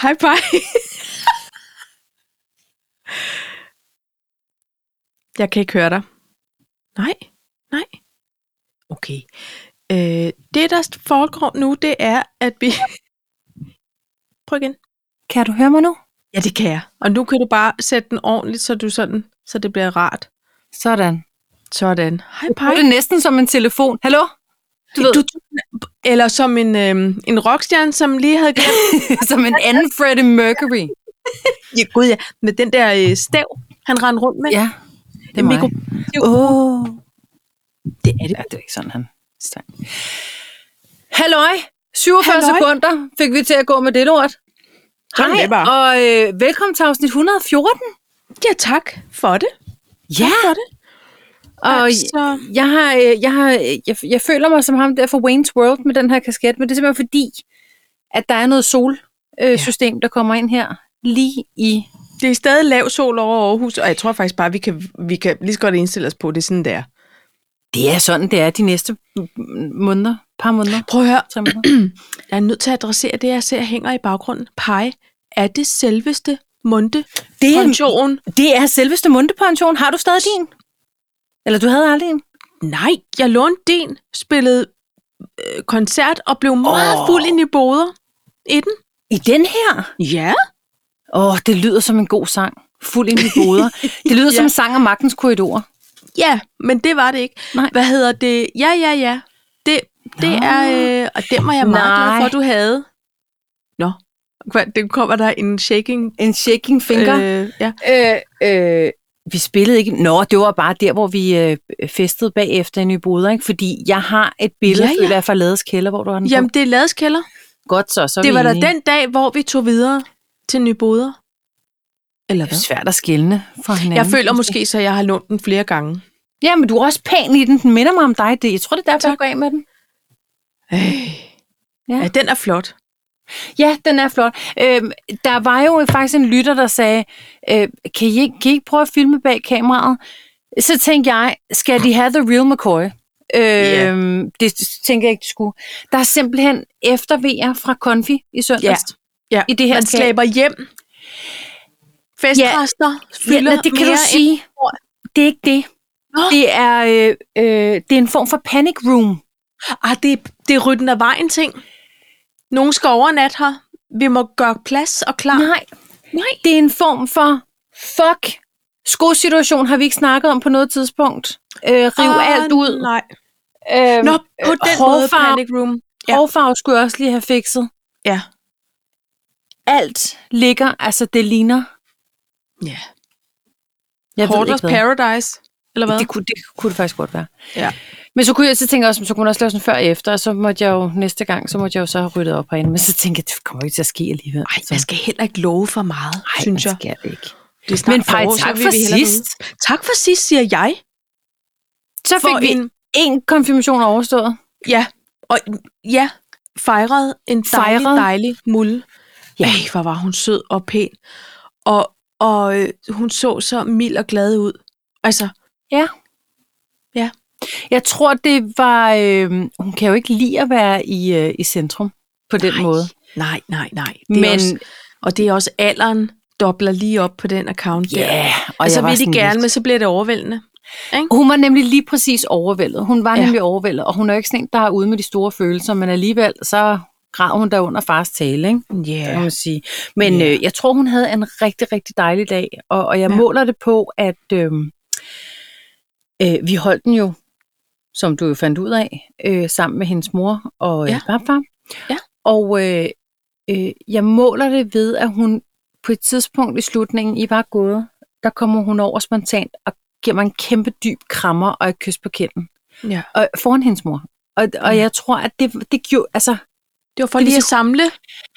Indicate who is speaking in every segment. Speaker 1: Hej bye. Jeg kan ikke høre dig. Nej, nej. Okay. Øh, det, der foregår nu, det er, at vi... Prøv igen.
Speaker 2: Kan du høre mig nu?
Speaker 1: Ja, det kan jeg. Og nu kan du bare sætte den ordentligt, så du sådan, så det bliver rart.
Speaker 2: Sådan.
Speaker 1: Sådan. Hej,
Speaker 2: Nu er
Speaker 1: Paj.
Speaker 2: det næsten som en telefon. Hallo? Du ved,
Speaker 1: Du, eller som en, øh, en rockstjerne, som lige havde glemt.
Speaker 2: som en anden Freddie Mercury.
Speaker 1: ja, gud ja, med den der øh, stav, han rendte rundt med.
Speaker 2: Ja, det er
Speaker 1: En
Speaker 2: mig.
Speaker 1: mikro-
Speaker 2: Åh.
Speaker 1: Det er det.
Speaker 2: Ja, det er ikke sådan, han sang. Halløj! 47
Speaker 1: Halløj.
Speaker 2: sekunder fik vi til at gå med det lort.
Speaker 1: Sådan er det bare.
Speaker 2: og øh, velkommen til afsnit 114.
Speaker 1: Ja, tak for det.
Speaker 2: Ja,
Speaker 1: For det.
Speaker 2: og
Speaker 1: altså,
Speaker 2: jeg, har, øh, jeg, har, øh, jeg, jeg føler mig som ham der fra Wayne's World med den her kasket, men det er simpelthen fordi, at der er noget solsystem, øh, system, der kommer ind her lige i...
Speaker 1: det er stadig lav sol over Aarhus, og jeg tror faktisk bare, vi kan, vi kan lige så godt indstille os på, at det er sådan, der.
Speaker 2: Det er sådan, det er de næste måneder, par måneder.
Speaker 1: Prøv at høre,
Speaker 2: Tre måneder.
Speaker 1: jeg er nødt til at adressere det, jeg ser hænger i baggrunden. Pej, er det selveste munde?
Speaker 2: Det er-
Speaker 1: Pension?
Speaker 2: Det er selveste mundepension. Har du stadig din? Eller du havde aldrig en?
Speaker 1: Nej, jeg lånte din, spillede øh, koncert og blev meget
Speaker 2: Åh.
Speaker 1: oh. fuld ind i boder. I den?
Speaker 2: I den her?
Speaker 1: Ja.
Speaker 2: Åh, oh, det lyder som en god sang. Fuld ind i boder. Det lyder ja. som
Speaker 1: Ja.
Speaker 2: en sang om magtens korridorer.
Speaker 1: Ja, men det var det ikke.
Speaker 2: Nej.
Speaker 1: Hvad hedder det? Ja, ja, ja. Det, det
Speaker 2: Nå.
Speaker 1: er, øh, og den var jeg meget
Speaker 2: Nej.
Speaker 1: glad for, du havde. Nå, Hvad, det kommer der en shaking
Speaker 2: En shaking
Speaker 1: Øh, ja.
Speaker 2: Øh, øh, vi spillede ikke... Nå, det var bare der, hvor vi øh, festede bagefter i Nye Boder, ikke? Fordi jeg har et billede,
Speaker 1: Ja,
Speaker 2: ja,
Speaker 1: ja.
Speaker 2: ja. føler jeg, fra Lades Kælder, hvor du har den på.
Speaker 1: Jamen, det er ladeskælder.
Speaker 2: godt så, så er
Speaker 1: Det
Speaker 2: vi
Speaker 1: var da
Speaker 2: enige.
Speaker 1: den dag, hvor vi tog videre til Nyboder. Eller
Speaker 2: Det er
Speaker 1: hvad?
Speaker 2: svært at skille fra hinanden.
Speaker 1: Jeg føler måske, så jeg har lånt den flere gange.
Speaker 2: Ja, men du er også pæn i den. Den minder mig om dig. Det, jeg tror, det er derfor,
Speaker 1: Tak.
Speaker 2: jeg går af med den.
Speaker 1: Øh.
Speaker 2: Ja.
Speaker 1: Ja. ja, den er flot.
Speaker 2: Ja, den er flot. Øhm, der var jo faktisk en lytter, der sagde, øh, kan, I ikke, kan I ikke prøve at filme bag kameraet? Så tænkte jeg, skal de have The Real McCoy?
Speaker 1: Ja.
Speaker 2: Øhm, Det tænker jeg ikke, de skulle. Der er simpelthen eftervejer fra Konfi i søndags.
Speaker 1: Ja.
Speaker 2: I det her
Speaker 1: Man
Speaker 2: skab.
Speaker 1: slæber hjem. Festrester
Speaker 2: Ja,
Speaker 1: fylder
Speaker 2: nej, det kan
Speaker 1: mere
Speaker 2: du sige.
Speaker 1: ord.
Speaker 2: Det er ikke det.
Speaker 1: Nå.
Speaker 2: Det er, øh, øh, det er en form for panic room.
Speaker 1: End, ah, det, er- det er rydden af vejen ting. Nogen skal overnatte her. Vi må gøre plads og klar.
Speaker 2: Nej. Nej. Det er en form for fuck. Skosituation har vi ikke snakket om på noget tidspunkt. Øh, rive
Speaker 1: Åh,
Speaker 2: alt ud.
Speaker 1: Nej.
Speaker 2: Øhm,
Speaker 1: Ah, Nå, på den måde,
Speaker 2: hårfarve.
Speaker 1: Panic Room. Ja.
Speaker 2: Ja. Hårfarve skulle jeg også lige have fikset.
Speaker 1: Ja.
Speaker 2: Alt ligger, altså det ligner.
Speaker 1: ja.
Speaker 2: Jeg
Speaker 1: Hoarders
Speaker 2: hvad.
Speaker 1: Paradise. Eller hvad?
Speaker 2: Det, kunne, det kunne det faktisk godt være.
Speaker 1: Ja.
Speaker 2: Men så kunne jeg så tænke også, så kunne jeg også lave sådan før og efter, og så måtte jeg jo næste gang, så måtte jeg jo så have ryddet op herinde. Men så tænkte jeg, det kommer jo ikke til at ske alligevel.
Speaker 1: Ej, man skal heller ikke love for meget, Ej, synes jeg.
Speaker 2: Skal ikke.
Speaker 1: Det er
Speaker 2: Men
Speaker 1: forår,
Speaker 2: Paj,
Speaker 1: så
Speaker 2: tak
Speaker 1: vil
Speaker 2: for
Speaker 1: vi hellere
Speaker 2: sidst.
Speaker 1: ud. Tak for sidst, siger jeg.
Speaker 2: Så fik
Speaker 1: For
Speaker 2: vi
Speaker 1: en,
Speaker 2: en konfirmation overstået.
Speaker 1: ja, og ja, fejrede en dejlig,
Speaker 2: Fejrede.
Speaker 1: dejlig mulle.
Speaker 2: Ja.
Speaker 1: Ja. Ej, hvor var hun sød og pæn. Og, og øh, hun så så mild og glad ud. Altså,
Speaker 2: Ja.
Speaker 1: Ja.
Speaker 2: Jeg tror, det var... Øh, hun kan jo ikke lide at være i, øh, i centrum på den
Speaker 1: nej,
Speaker 2: måde.
Speaker 1: Nej, nej, nej. Det er
Speaker 2: Men
Speaker 1: også, og det er også alderen, dobler lige op på den account
Speaker 2: ja,
Speaker 1: der.
Speaker 2: yeah, og
Speaker 1: Og så
Speaker 2: jeg
Speaker 1: Altså,
Speaker 2: var
Speaker 1: vil de
Speaker 2: sådan
Speaker 1: gerne,
Speaker 2: lidt-
Speaker 1: men så bliver det overvældende.
Speaker 2: Hun var nemlig lige præcis overvældet. Hun var ja.
Speaker 1: Ja.
Speaker 2: nemlig overvældet, og hun er jo ikke sådan en, der er ude med de store følelser, men alligevel så græd hun der under fars tale, ikke? Ja. Kan
Speaker 1: Yeah.
Speaker 2: man sige. Men
Speaker 1: Ja.
Speaker 2: øh, jeg tror, hun havde en rigtig, rigtig dejlig dag, og, og jeg ja.
Speaker 1: Ja.
Speaker 2: måler det på, at øh, øh, vi holdt den jo, som du jo fandt ud af, øh, sammen med hendes mor og øh,
Speaker 1: Ja.
Speaker 2: farfar.
Speaker 1: Ja.
Speaker 2: Og øh, øh, jeg måler det ved, at hun på et tidspunkt i slutningen, I var gået, der kommer hun over spontant og giver mig en kæmpe dyb krammer og et kys på kinden.
Speaker 1: Ja.
Speaker 2: Og, foran hendes mor. Og, og
Speaker 1: Ja.
Speaker 2: jeg tror, at det, det gjorde, altså,
Speaker 1: Det var for
Speaker 2: Det
Speaker 1: lige at
Speaker 2: viser-
Speaker 1: samle.
Speaker 2: Nej,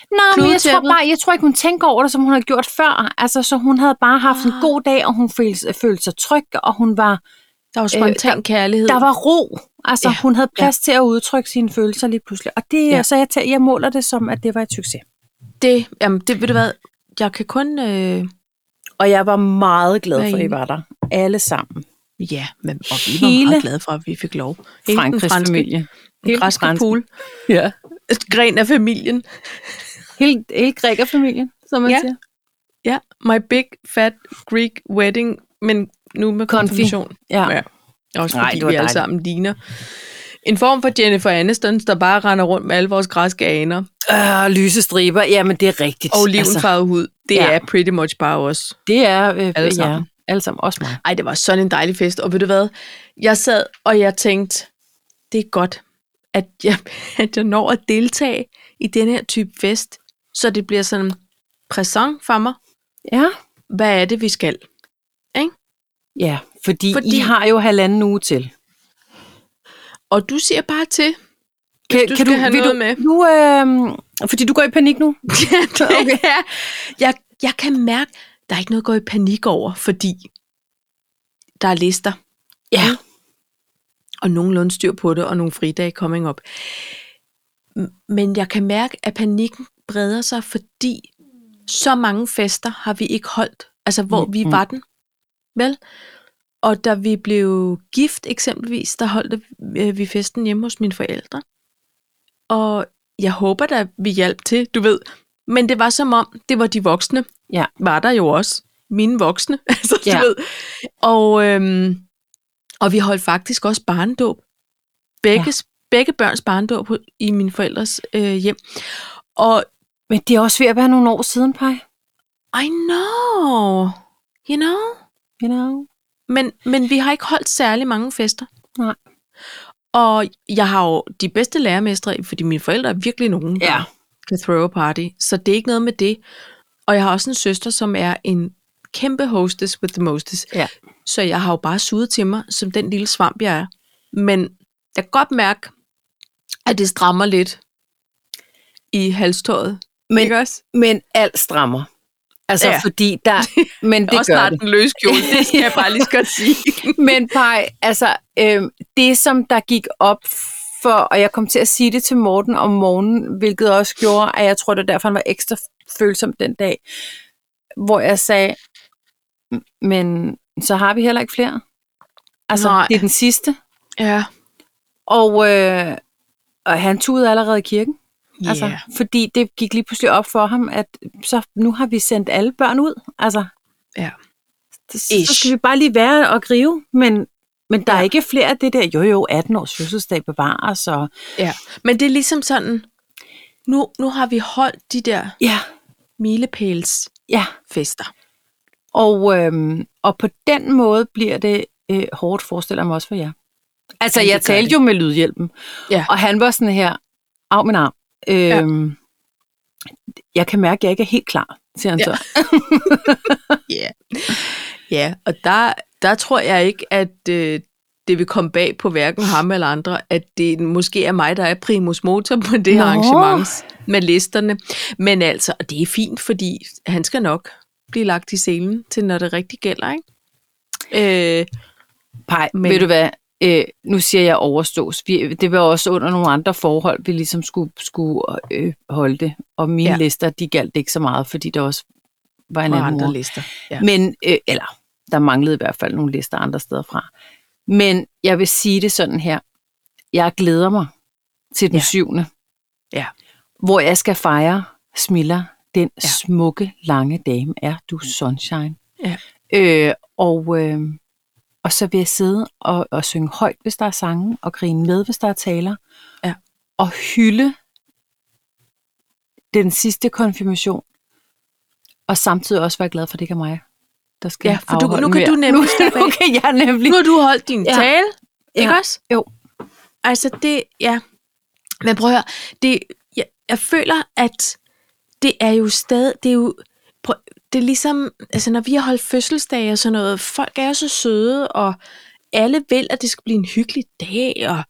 Speaker 2: men jeg tror
Speaker 1: kludetæppet.
Speaker 2: bare, jeg tror ikke, hun tænker over det, som hun har gjort før. Altså, så hun havde bare haft en
Speaker 1: Ah.
Speaker 2: god dag, og hun følte, følte sig tryg, og hun var,
Speaker 1: Der var spontan øh, kærlighed.
Speaker 2: der var ro. Altså, ja.
Speaker 1: Ja,
Speaker 2: hun havde plads ja. til at udtrykke sine følelser lige pludselig. Og det, ja.
Speaker 1: Ja.
Speaker 2: så jeg, tæ- jeg måler det som, at det var et succes.
Speaker 1: det, jamen, det ved du hvad, jeg kan kun, øh,
Speaker 2: Og jeg var meget glad
Speaker 1: Hvad
Speaker 2: for, at I
Speaker 1: enig.
Speaker 2: var der. Alle sammen.
Speaker 1: ja, men, og vi var
Speaker 2: Hele-
Speaker 1: meget glade for, at vi fik lov. Hele den
Speaker 2: Frankrigs
Speaker 1: franske-
Speaker 2: familie.
Speaker 1: Den græske
Speaker 2: franske.
Speaker 1: pool.
Speaker 2: Ja.
Speaker 1: Gren af familien.
Speaker 2: Hele, hele grækerfamilien, som man
Speaker 1: Ja.
Speaker 2: siger.
Speaker 1: Ja, my big fat Greek wedding, men nu med
Speaker 2: Konfi.
Speaker 1: konfirmation.
Speaker 2: Ja.
Speaker 1: Ja. Også
Speaker 2: Nej,
Speaker 1: fordi
Speaker 2: det
Speaker 1: Nej,
Speaker 2: var
Speaker 1: vi alle
Speaker 2: dejligt.
Speaker 1: sammen ligner. En form for Jennifer Aniston, der bare render rundt med alle vores græske aner
Speaker 2: Øh, lyse striber, jamen det er rigtigt.
Speaker 1: og olivenfarvet hud. Det
Speaker 2: ja.
Speaker 1: Altså, ja. er pretty much bare os.
Speaker 2: det er øh,
Speaker 1: Alle
Speaker 2: alle sammen.
Speaker 1: sammen.
Speaker 2: Ja, alle sammen, også mig.
Speaker 1: Ej, det var sådan en dejlig fest. Og ved du hvad? Jeg sad, og jeg tænkte, det er godt, at jeg, at jeg når at deltage i den her type fest, så det bliver sådan en præsent for mig.
Speaker 2: Ja.
Speaker 1: Hvad er det, vi skal?
Speaker 2: Ja, fordi, fordi
Speaker 1: Fordi-
Speaker 2: I har jo halvanden uge til.
Speaker 1: Og du siger bare til.
Speaker 2: Kan,
Speaker 1: du skal have
Speaker 2: vil
Speaker 1: noget med.
Speaker 2: Nu, øh, fordi du går i panik nu.
Speaker 1: Ja, det
Speaker 2: Okay.
Speaker 1: okay. er. Jeg, jeg kan mærke, der er ikke noget at gå i panik over, fordi der er lister,
Speaker 2: Ja.
Speaker 1: og nogenlunde styr på det, og nogle fridage coming up. M- Men jeg kan mærke, at panikken breder sig, fordi så mange fester har vi ikke holdt, altså hvor vi
Speaker 2: Mm,
Speaker 1: var den, vel? Og da vi blev gift eksempelvis, der holdt vi festen hjemme hos mine forældre. Og jeg håber da, vi hjalp til, du ved. Men det var som om, det var de voksne.
Speaker 2: Ja.
Speaker 1: Var der jo også. Mine voksne, altså
Speaker 2: Ja.
Speaker 1: ja. du ved. Og, øhm, og vi holdt faktisk også barndåb. Begges, ja. Begge børns barndåb hu- i mine forældres øh, hjem. Og
Speaker 2: Men det er også ved at være nogle år siden, Paj.
Speaker 1: I know, you know.
Speaker 2: You know?
Speaker 1: Men, men vi har ikke holdt særlig mange fester.
Speaker 2: Nej.
Speaker 1: Og jeg har jo de bedste lærermestre, fordi mine forældre er virkelig nogen, der
Speaker 2: Ja.
Speaker 1: kan throw a party. Så det er ikke noget med det. Og jeg har også en søster, som er en kæmpe hostess with the mostest.
Speaker 2: Ja.
Speaker 1: Så jeg har jo bare suget til mig, som den lille svamp, jeg er. Men jeg kan godt mærke, at det strammer lidt i halståret.
Speaker 2: Men-
Speaker 1: ikke også?
Speaker 2: Men alt strammer. Altså, ja.
Speaker 1: Ja.
Speaker 2: fordi der... Men det
Speaker 1: og
Speaker 2: gør
Speaker 1: snart
Speaker 2: det.
Speaker 1: en løs kjole, det skal jeg bare lige så godt sige.
Speaker 2: Men Paj, altså, øhm, det som der gik op for, og jeg kom til at sige det til Morten om morgenen, hvilket også gjorde, at jeg tror, det var derfor, han var ekstra følsom den dag, hvor jeg sagde, "M- men så har vi heller ikke flere. Altså, Nej.
Speaker 1: Nej.
Speaker 2: det er den sidste.
Speaker 1: ja.
Speaker 2: Og, øh, og han tudede allerede i kirken.
Speaker 1: Yeah.
Speaker 2: Altså, fordi det gik lige pludselig op for ham, at så nu har vi sendt alle børn ud. Altså,
Speaker 1: Ja.
Speaker 2: det- så, så
Speaker 1: Ish.
Speaker 2: skal vi bare lige være og grive, men, men der ja. er
Speaker 1: Ja.
Speaker 2: ikke flere af det der, jo jo, 18 års fødselsdag bevares, og
Speaker 1: Ja, men det er ligesom sådan, nu, nu har vi holdt de der
Speaker 2: ja,
Speaker 1: milepælsfester.
Speaker 2: ja. Og, øhm, og på den måde bliver det øh, hårdt, forestiller jeg mig også for jer. Altså,
Speaker 1: Ja, det
Speaker 2: jeg
Speaker 1: gør
Speaker 2: talte
Speaker 1: det.
Speaker 2: jo med lydhjælpen,
Speaker 1: Ja.
Speaker 2: og han var sådan her, af min arm, øhm, jeg kan mærke, at jeg ikke er helt klar, siger han ja.
Speaker 1: Ja.
Speaker 2: så.
Speaker 1: Ja. Ja, og der, der tror jeg ikke, at øh, det vil komme bag på hverken ham eller andre, at det måske er mig, der er primus motor på det her
Speaker 2: Nå.
Speaker 1: arrangement med listerne. Men altså, og det er fint, fordi han skal nok blive lagt i selen til, når det rigtig gælder, ikke? Øh,
Speaker 2: Pej, men...
Speaker 1: Men-
Speaker 2: ved du hvad, øh, nu siger jeg overstås. Vi, det var også under nogle andre forhold, vi ligesom skulle, skulle øh, holde det. Og mine ja.
Speaker 1: Ja.
Speaker 2: lister, de galt ikke så meget, fordi der også var en
Speaker 1: og
Speaker 2: anden
Speaker 1: andre
Speaker 2: mor.
Speaker 1: lister. Ja.
Speaker 2: Men, øh, eller, der manglede i hvert fald nogle lister andre steder fra. Men jeg vil sige det sådan her. Jeg glæder mig til den
Speaker 1: Ja.
Speaker 2: syvende.
Speaker 1: Ja.
Speaker 2: Hvor jeg skal fejre Smilla, den ja.
Speaker 1: Ja. Mm.
Speaker 2: smukke, lange dame er du, sunshine.
Speaker 1: Ja.
Speaker 2: Øh, og, øh, og så vil jeg sidde og, og synge højt, hvis der er sange, og grine med, hvis der er taler.
Speaker 1: Ja.
Speaker 2: Og hylde den sidste konfirmation, og samtidig også være glad for, at det ikke er mig, der skal
Speaker 1: Ja, for du-
Speaker 2: afholde
Speaker 1: nu kan
Speaker 2: mere.
Speaker 1: du nemlig
Speaker 2: nu,
Speaker 1: slappe
Speaker 2: nu
Speaker 1: af.
Speaker 2: kan jeg nemlig
Speaker 1: Nu har du holdt din
Speaker 2: Ja.
Speaker 1: ja. tale, ikke
Speaker 2: Ja.
Speaker 1: også?
Speaker 2: Jo.
Speaker 1: Altså det, ja. Men prøv at høre, det, jeg, jeg føler, at det er jo stadig, det er jo, prøv, det er ligesom, altså når vi har holdt fødselsdage og sådan noget, folk er jo så søde, og alle vil, at det skal blive en hyggelig dag, og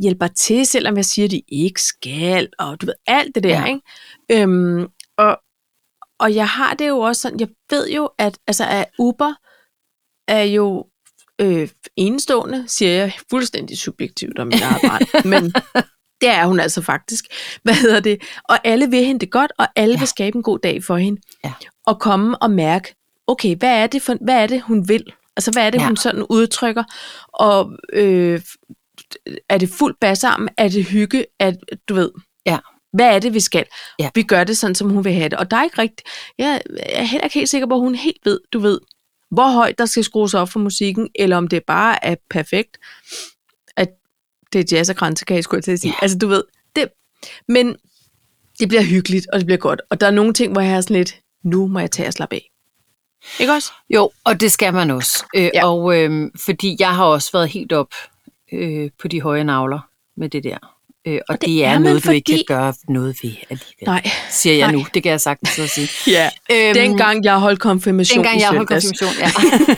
Speaker 1: hjælper til, selvom jeg siger, at de ikke skal, og du ved, alt det der,
Speaker 2: Ja.
Speaker 1: ja. ikke? Øhm, og, og jeg har det jo også sådan, jeg ved jo, at, altså, at Uber er jo øh, enestående, siger jeg fuldstændig subjektivt om mit arbejde, men det er hun altså faktisk. Hvad hedder det? Og alle vil hende det godt, og alle
Speaker 2: Ja.
Speaker 1: ja. vil skabe en god dag for hende.
Speaker 2: Ja.
Speaker 1: Og komme og mærke, okay, hvad er det, for, hvad er det hun vil? Altså, hvad er det,
Speaker 2: Ja.
Speaker 1: ja. hun sådan udtrykker? Og øh, er det fuld basarm? Er det hygge? Er, du ved,
Speaker 2: Ja.
Speaker 1: Hvad er det, vi skal?
Speaker 2: Ja.
Speaker 1: Ja. Vi gør det sådan, som hun vil have det. Og der er ikke rigtigt... Jeg er heller ikke helt sikker på, at hun helt ved, du ved, hvor højt der skal skrues op for musikken, eller om det bare er perfekt, at det er jazz og kransekage, skulle jeg til at sige.
Speaker 2: Ja.
Speaker 1: Ja. Altså, du ved, det... Men det bliver hyggeligt, og det bliver godt. Og der er nogle ting, hvor jeg er sådan lidt, nu må jeg tage og slappe af. Ikke også?
Speaker 2: Jo, og det skal man også. Øh, ja.
Speaker 1: Ja.
Speaker 2: Og øh, fordi jeg har også været helt op øh, på de høje navler med det der. Øh, og, og det, det er, er
Speaker 1: man,
Speaker 2: noget, du ikke kan
Speaker 1: fordi-
Speaker 2: gøre noget ved alligevel.
Speaker 1: Nej.
Speaker 2: Siger jeg
Speaker 1: nej.
Speaker 2: nu. Det kan jeg sagtens sidde og sige.
Speaker 1: Ja.
Speaker 2: Øhm,
Speaker 1: Dengang jeg holdt konfirmation
Speaker 2: dengang
Speaker 1: i
Speaker 2: jeg holdt
Speaker 1: søndags.
Speaker 2: konfirmation,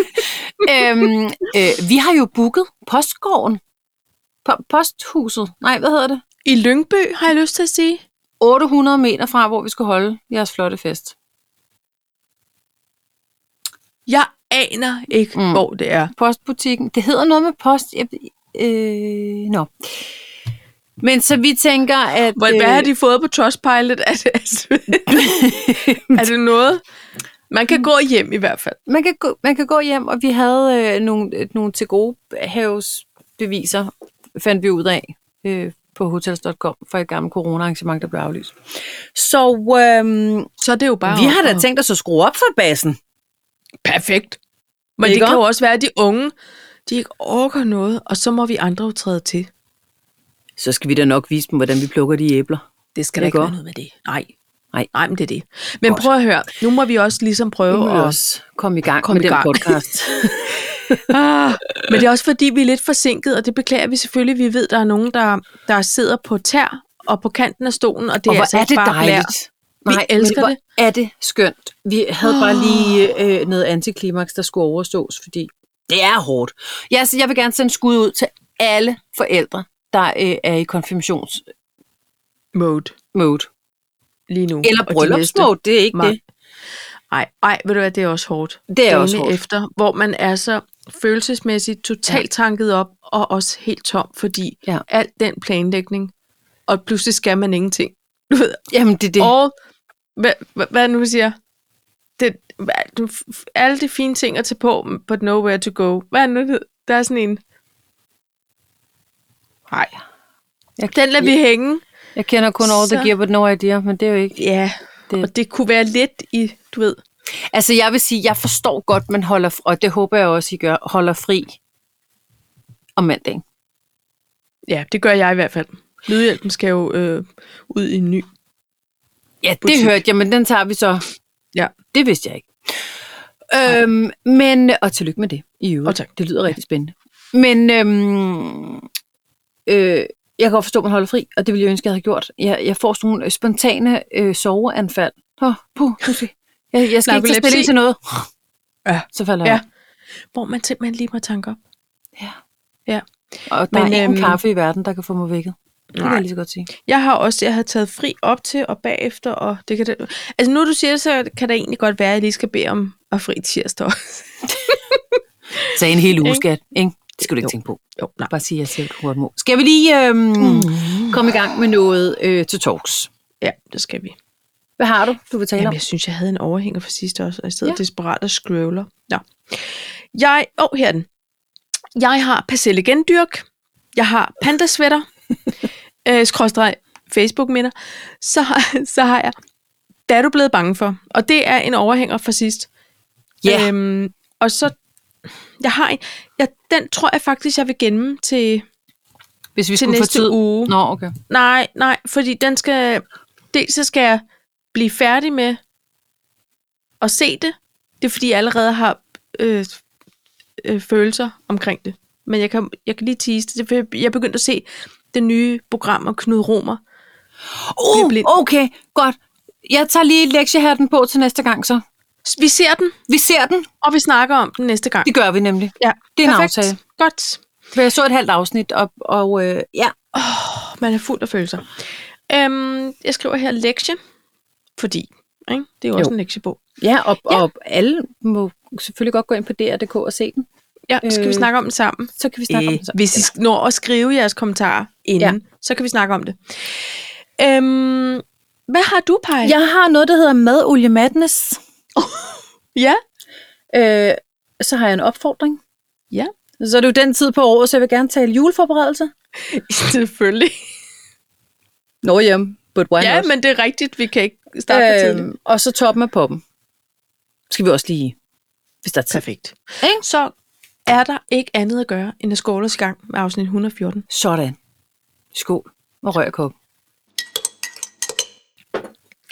Speaker 2: ja. øhm, øh, vi har jo booket postgården. Po- posthuset. Nej, hvad hedder det?
Speaker 1: I Lyngby, har jeg lyst til at sige.
Speaker 2: 800 meter fra, hvor vi skulle holde jeres flotte fest.
Speaker 1: Jeg aner ikke,
Speaker 2: Mm.
Speaker 1: mm. hvor det er.
Speaker 2: postbutikken. Det hedder noget med post. Jeg, øh, nå. Men så vi tænker, at...
Speaker 1: Hvad, øh. hvad har de fået på Trustpilot? Er det, altså, er det noget? Man kan gå hjem i hvert fald.
Speaker 2: man, kan gå, man kan gå hjem, og vi havde øh, nogle, øh, nogle til gode havesbeviser, fandt vi ud af øh, på hotels.com for et gammelt corona-arrangement, der blev aflyst. Så øhm,
Speaker 1: Så er det jo bare...
Speaker 2: vi har
Speaker 1: op
Speaker 2: da
Speaker 1: og-
Speaker 2: tænkt os at skrue op for bassen.
Speaker 1: Perfekt. Men
Speaker 2: Ikke
Speaker 1: det kan
Speaker 2: også?
Speaker 1: jo også være, at de unge, de ikke orker noget, og så må vi andre jo træde til.
Speaker 2: Så skal vi da nok vise dem, hvordan vi plukker de æbler.
Speaker 1: Det skal
Speaker 2: Det
Speaker 1: der ikke
Speaker 2: går.
Speaker 1: være noget med det. Nej.
Speaker 2: Nej.
Speaker 1: Nej, men det er det. Men
Speaker 2: Godt.
Speaker 1: prøv at høre, nu må vi også ligesom
Speaker 2: Nu
Speaker 1: prøve
Speaker 2: må vi
Speaker 1: at
Speaker 2: også komme i gang
Speaker 1: Kom
Speaker 2: med
Speaker 1: i gang.
Speaker 2: den podcast.
Speaker 1: Ah, men det er også fordi, vi er lidt forsinket, og det beklager vi selvfølgelig. Vi ved, der er nogen, der, der sidder på tær og på kanten af stolen, og det
Speaker 2: og
Speaker 1: er
Speaker 2: hvor
Speaker 1: altså
Speaker 2: er
Speaker 1: ikke
Speaker 2: det
Speaker 1: bare
Speaker 2: dejligt.
Speaker 1: Vi elsker
Speaker 2: men
Speaker 1: det.
Speaker 2: Hvor er det skønt. Vi havde oh. bare lige øh, noget antiklimaks, der skulle overstås, fordi det er hårdt. Ja, så jeg vil gerne sende skud ud til alle forældre, der øh, er i konfirmationsmode.
Speaker 1: mode lige nu.
Speaker 2: Eller
Speaker 1: og de
Speaker 2: bryllupsmode, det er ikke
Speaker 1: Nej.
Speaker 2: det.
Speaker 1: næste. Nej, ej, ved du hvad, det er også hårdt.
Speaker 2: Det er også hårdt.
Speaker 1: efter, hvor man er så følelsesmæssigt totalt tanket op, og også helt tom, fordi
Speaker 2: Ja.
Speaker 1: ja. al den planlægning, og pludselig skal man ingenting. Du ved,
Speaker 2: Jamen, det er det.
Speaker 1: det. Og hvad, hvad, hvad er det nu vi siger? Det, hvad, du, f- alle de fine ting at tage på, but nowhere to go. Hvad er det nu? det hed? Der er sådan en... Nej.
Speaker 2: Jeg-
Speaker 1: Den lader vi hænge.
Speaker 2: Jeg kender kun All the
Speaker 1: Så-
Speaker 2: Gear But No Idea, men det er jo ikke...
Speaker 1: Ja,
Speaker 2: Det-
Speaker 1: det. og det kunne være lidt i, du ved...
Speaker 2: Altså, jeg vil sige, jeg forstår godt, man holder, fri, og det håber jeg også, I gør, holder fri om mandagen.
Speaker 1: Ja, det gør jeg i hvert fald. Lydhjælpen skal jo øh, ud i en ny.
Speaker 2: Ja, det
Speaker 1: Butik.
Speaker 2: hørte jeg, men den tager vi så
Speaker 1: Ja,
Speaker 2: Det vidste jeg ikke. Øhm, men, og tillykke med det i øvrigt.
Speaker 1: Og tak.
Speaker 2: Det lyder rigtig spændende. Men øhm, øh, jeg kan godt forstå, at man holder fri, og det ville jeg ønske, jeg havde gjort. Jeg, jeg får sådan nogle spontane øh, soveanfald. Åh, puh, nu skal jeg, jeg skal ikke tage
Speaker 1: Narkolepsi.
Speaker 2: spilling til noget.
Speaker 1: Ja.
Speaker 2: Så falder
Speaker 1: Ja.
Speaker 2: jeg.
Speaker 1: hvor man simpelthen lige må tanke op.
Speaker 2: Ja.
Speaker 1: Ja.
Speaker 2: Og der
Speaker 1: Men,
Speaker 2: er ingen
Speaker 1: øhm,
Speaker 2: kaffe i verden, der kan få mig vækket. Det kan
Speaker 1: nej.
Speaker 2: jeg lige så godt sige.
Speaker 1: Jeg har også, jeg havde taget fri op til og bagefter, og det kan det, altså nu du siger det, så kan det egentlig godt være, at jeg lige skal bede om at fri tirsdag også.
Speaker 2: Så en hel uge,
Speaker 1: Ikke?
Speaker 2: skat. Ikke? Det skal du ikke
Speaker 1: Jo.
Speaker 2: tænke på.
Speaker 1: Jo, nej.
Speaker 2: Bare sige, at jeg selv hurtigt må. Skal vi lige øhm, mm. komme i gang med noget øh, til talks?
Speaker 1: Ja, det skal vi.
Speaker 2: Hvad har du, du vil tale
Speaker 1: Jamen,
Speaker 2: om?
Speaker 1: jeg synes, jeg havde en overhænger for sidste også, og jeg sidder
Speaker 2: Ja.
Speaker 1: ja. desperat og scroller. Nå. Jeg, åh, oh, her er den. Jeg har persillegendyrk, jeg har pandasvætter, øh, skråstreg Facebook-minder, så, har- så har jeg, hvad er du blevet bange for? Og det er en overhænger for sidst.
Speaker 2: Ja.
Speaker 1: Øhm, og så, jeg har en, jeg, den tror jeg faktisk, jeg vil gemme til,
Speaker 2: Hvis
Speaker 1: til
Speaker 2: vi skulle få tid.
Speaker 1: næste uge.
Speaker 2: Nå, okay.
Speaker 1: Nej, nej, fordi den skal... Dels så skal jeg blive færdig med at se det. Det er fordi, jeg allerede har øh, øh, følelser omkring det. Men jeg kan, jeg kan lige tease det. det. er, fordi Jeg er begyndt at se det nye program om Knud Romer. Bliv blind.
Speaker 2: Uh, okay, godt. Jeg tager lige lektiehatten på til næste gang, så.
Speaker 1: S- Vi ser den,
Speaker 2: Vi ser den.
Speaker 1: og vi snakker om den næste gang.
Speaker 2: Det gør vi nemlig.
Speaker 1: Ja,
Speaker 2: det er en aftale.
Speaker 1: Godt.
Speaker 2: For jeg så et halvt afsnit, og, og øh, ja.
Speaker 1: Man er fuld af følelser. Øhm, jeg skriver her lektie, fordi ikke? det er jo,
Speaker 2: Jo.
Speaker 1: jo. også en lektiebog.
Speaker 2: Ja, og, ja, og alle må selvfølgelig godt gå ind på DR.dk og se den.
Speaker 1: Ja, skal øh,
Speaker 2: Øh,
Speaker 1: vi snakke om den sammen?
Speaker 2: Så kan vi snakke
Speaker 1: snakke
Speaker 2: øh,
Speaker 1: øh,
Speaker 2: om det. så.
Speaker 1: Hvis I sk- når at skrive jeres kommentarer inden, ja. så kan vi snakke om det. Øhm, hvad har du, Paj?
Speaker 2: Jeg har noget, der hedder Madolie Madness.
Speaker 1: ja.
Speaker 2: Øh, så har jeg en opfordring.
Speaker 1: Ja.
Speaker 2: Så er det jo den tid på året, så jeg vil gerne tale juleforberedelse.
Speaker 1: Selvfølgelig.
Speaker 2: Nå, jamen. but why
Speaker 1: Ja,
Speaker 2: not?
Speaker 1: men det er rigtigt. Vi kan ikke starte øhm, tidligt.
Speaker 2: øhm, og så toppen af poppen. Skal vi også lige, hvis der er tid.
Speaker 1: Perfekt.
Speaker 2: Ikke?
Speaker 1: Så er der ikke andet at gøre, end at skåle os i gang med afsnit 114.
Speaker 2: Sådan. Skål. Og rør kop.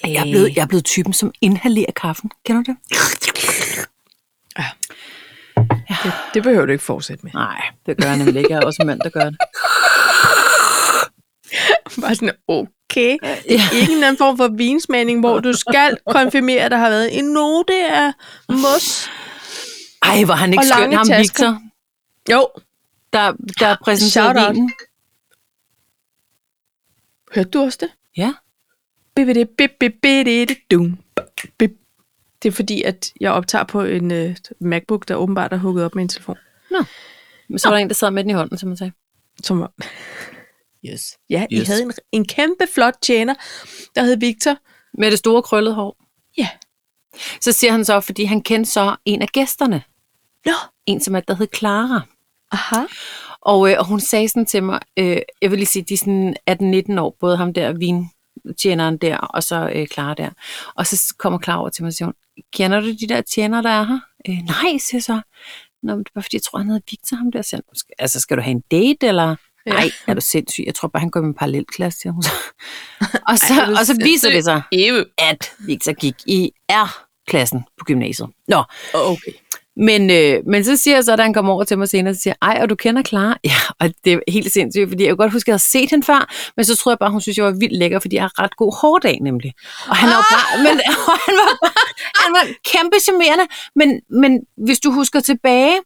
Speaker 2: Jeg er, blevet, jeg er blevet typen, som inhalerer kaffen. Kender du det?
Speaker 1: det, Øh, det behøver du ikke fortsætte med.
Speaker 2: Nej, det gør jeg nemlig ikke. Jeg er også en mand, der gør det.
Speaker 1: Bare sådan, okay.
Speaker 2: Ja.
Speaker 1: Ikke en eller anden form for vinsmagning, hvor du skal konfirmere, at der har været en note af mos.
Speaker 2: Ej, var han ikke
Speaker 1: Og
Speaker 2: skøn,
Speaker 1: lange
Speaker 2: ham
Speaker 1: tasker. Ah,
Speaker 2: Victor,
Speaker 1: Jo,
Speaker 2: der, der
Speaker 1: Shout
Speaker 2: præsenterede
Speaker 1: out.
Speaker 2: vinen.
Speaker 1: hørte du også det?
Speaker 2: Ja.
Speaker 1: Bibidi, bibidi, bibidi, dum, bib. Det er fordi, at jeg optager på en uh, MacBook, der åbenbart er hugget op med en telefon.
Speaker 2: Men så var der en, der sad med den i hånden, som man sagde.
Speaker 1: Som var... Yes. Ja, yes. I
Speaker 2: Yes.
Speaker 1: havde en, en kæmpe flot tjener, der hed Victor.
Speaker 2: Med det store krøllede hår.
Speaker 1: Ja.
Speaker 2: Så siger han så, fordi han kendte så en af gæsterne.
Speaker 1: Nå,
Speaker 2: En, som er, der hed Clara.
Speaker 1: aha.
Speaker 2: Og, øh, og hun sagde sådan til mig, øh, jeg vil lige sige, de er sådan 18-19 år, både ham der, vintjeneren der, og så øh, Clara der. Og så kommer Clara over til mig og siger, hun, kender du de der tjenere, der er her? Øh, nej, siger jeg så. Nå, men det var fordi, jeg tror, han hedder Victor, ham der. Selv. Altså, skal du have en date, eller?
Speaker 1: Ja.
Speaker 2: Nej, er du sindssyg? Jeg tror bare, han går med en parallelklasse, siger hun så. og så,
Speaker 1: Ej, er du
Speaker 2: og så viser det sig,
Speaker 1: Ew.
Speaker 2: at Victor gik i R-klassen på gymnasiet. Nå,
Speaker 1: Okay.
Speaker 2: men, øh, men så siger jeg så, da han kommer over til mig senere, så siger jeg, ej, og du kender Clara? Ja, og det er helt sindssygt, fordi jeg kunne godt huske, at jeg havde set hende før, men så troede jeg bare, hun synes, jeg var vildt lækker, fordi jeg har ret god hårdag nemlig. Og han, ah! var bare, men, og han, var bare, han var kæmpe charmerende, men, men hvis du husker tilbage,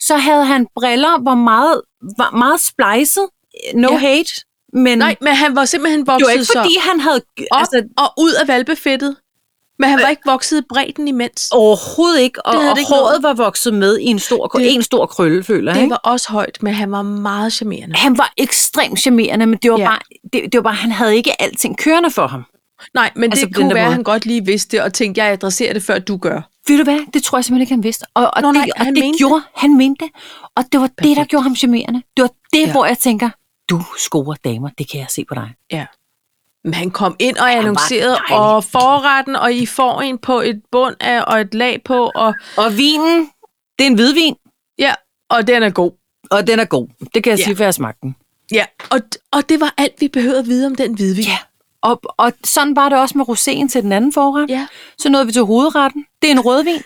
Speaker 2: så havde han briller, var meget, var meget splicet, no
Speaker 1: Ja.
Speaker 2: ja. hate, men
Speaker 1: Nej, men han var simpelthen
Speaker 2: det var
Speaker 1: vokset
Speaker 2: ikke
Speaker 1: så
Speaker 2: fordi, han havde...
Speaker 1: op
Speaker 2: Altså,
Speaker 1: og ud af valbefættet. Men han var ikke vokset i bredden imens.
Speaker 2: overhovedet ikke, og,
Speaker 1: Det havde
Speaker 2: og
Speaker 1: det ikke
Speaker 2: håret var vokset med i en stor,
Speaker 1: Det-
Speaker 2: en stor krølle, føler jeg.
Speaker 1: Det
Speaker 2: ikke?
Speaker 1: var også højt, men han var meget charmerende.
Speaker 2: han var ekstremt charmerende, men det var,
Speaker 1: Ja.
Speaker 2: ja. bare, det, det var bare, han havde ikke alting kørende for ham.
Speaker 1: Nej, men
Speaker 2: Altså
Speaker 1: det
Speaker 2: på den
Speaker 1: kunne
Speaker 2: der
Speaker 1: være, at
Speaker 2: måde.
Speaker 1: han godt lige vidste det, og tænkte, jeg adresserer det, før du gør.
Speaker 2: Ved du hvad? Det tror jeg simpelthen ikke, han vidste. Og, og
Speaker 1: Nå,
Speaker 2: det,
Speaker 1: nej,
Speaker 2: og
Speaker 1: han
Speaker 2: det
Speaker 1: mente
Speaker 2: gjorde han mente det. Og det var Perfekt. det, der
Speaker 1: Perfekt.
Speaker 2: gjorde ham charmerende. Det var det,
Speaker 1: Ja.
Speaker 2: ja. hvor jeg tænker, du scorer damer, det kan jeg se på dig.
Speaker 1: Ja. Men han kom ind og
Speaker 2: var
Speaker 1: annoncerede,
Speaker 2: dejlig.
Speaker 1: og forretten, og I får en på et bund af, og et lag på, og,
Speaker 2: Og vinen, det er en hvidvin,
Speaker 1: ja, og den er god.
Speaker 2: og den er god. Det kan jeg
Speaker 1: Ja.
Speaker 2: ja. sige, for jeg har smagt den.
Speaker 1: Ja, og, og det var alt, vi behøvede at vide om den hvidvin.
Speaker 2: Ja. Og, og sådan var det også med roséen til den anden forret.
Speaker 1: Ja.
Speaker 2: Så nåede vi til hovedretten. Det er en rødvin.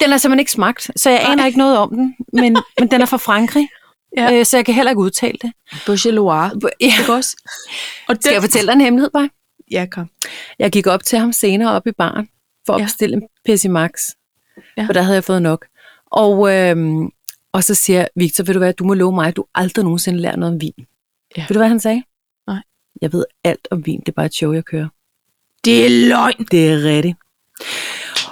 Speaker 2: Den er simpelthen ikke smagt, så jeg aner ikke noget om den. Men, men den er fra Frankrig,
Speaker 1: Ja.
Speaker 2: ja. øh, så jeg kan heller ikke udtale det.
Speaker 1: Beaujolais.
Speaker 2: Ja.
Speaker 1: Ikke også? Og den,
Speaker 2: Skal jeg fortælle dig en hemmelighed, bare?
Speaker 1: Ja, kom.
Speaker 2: Jeg gik op til ham senere op i baren, for at
Speaker 1: Ja.
Speaker 2: bestille en Pessimax.
Speaker 1: Ja.
Speaker 2: Ja. For der havde jeg fået nok. Og, øhm, og så siger jeg, Victor, ved du hvad, du må love mig, at du aldrig nogensinde lærer noget om vin.
Speaker 1: Ja.
Speaker 2: Ja. Ved du, hvad han sagde?
Speaker 1: Nej.
Speaker 2: Jeg ved alt om vin, det er bare et show, jeg kører.
Speaker 1: Det er løgn.
Speaker 2: Det er rigtigt.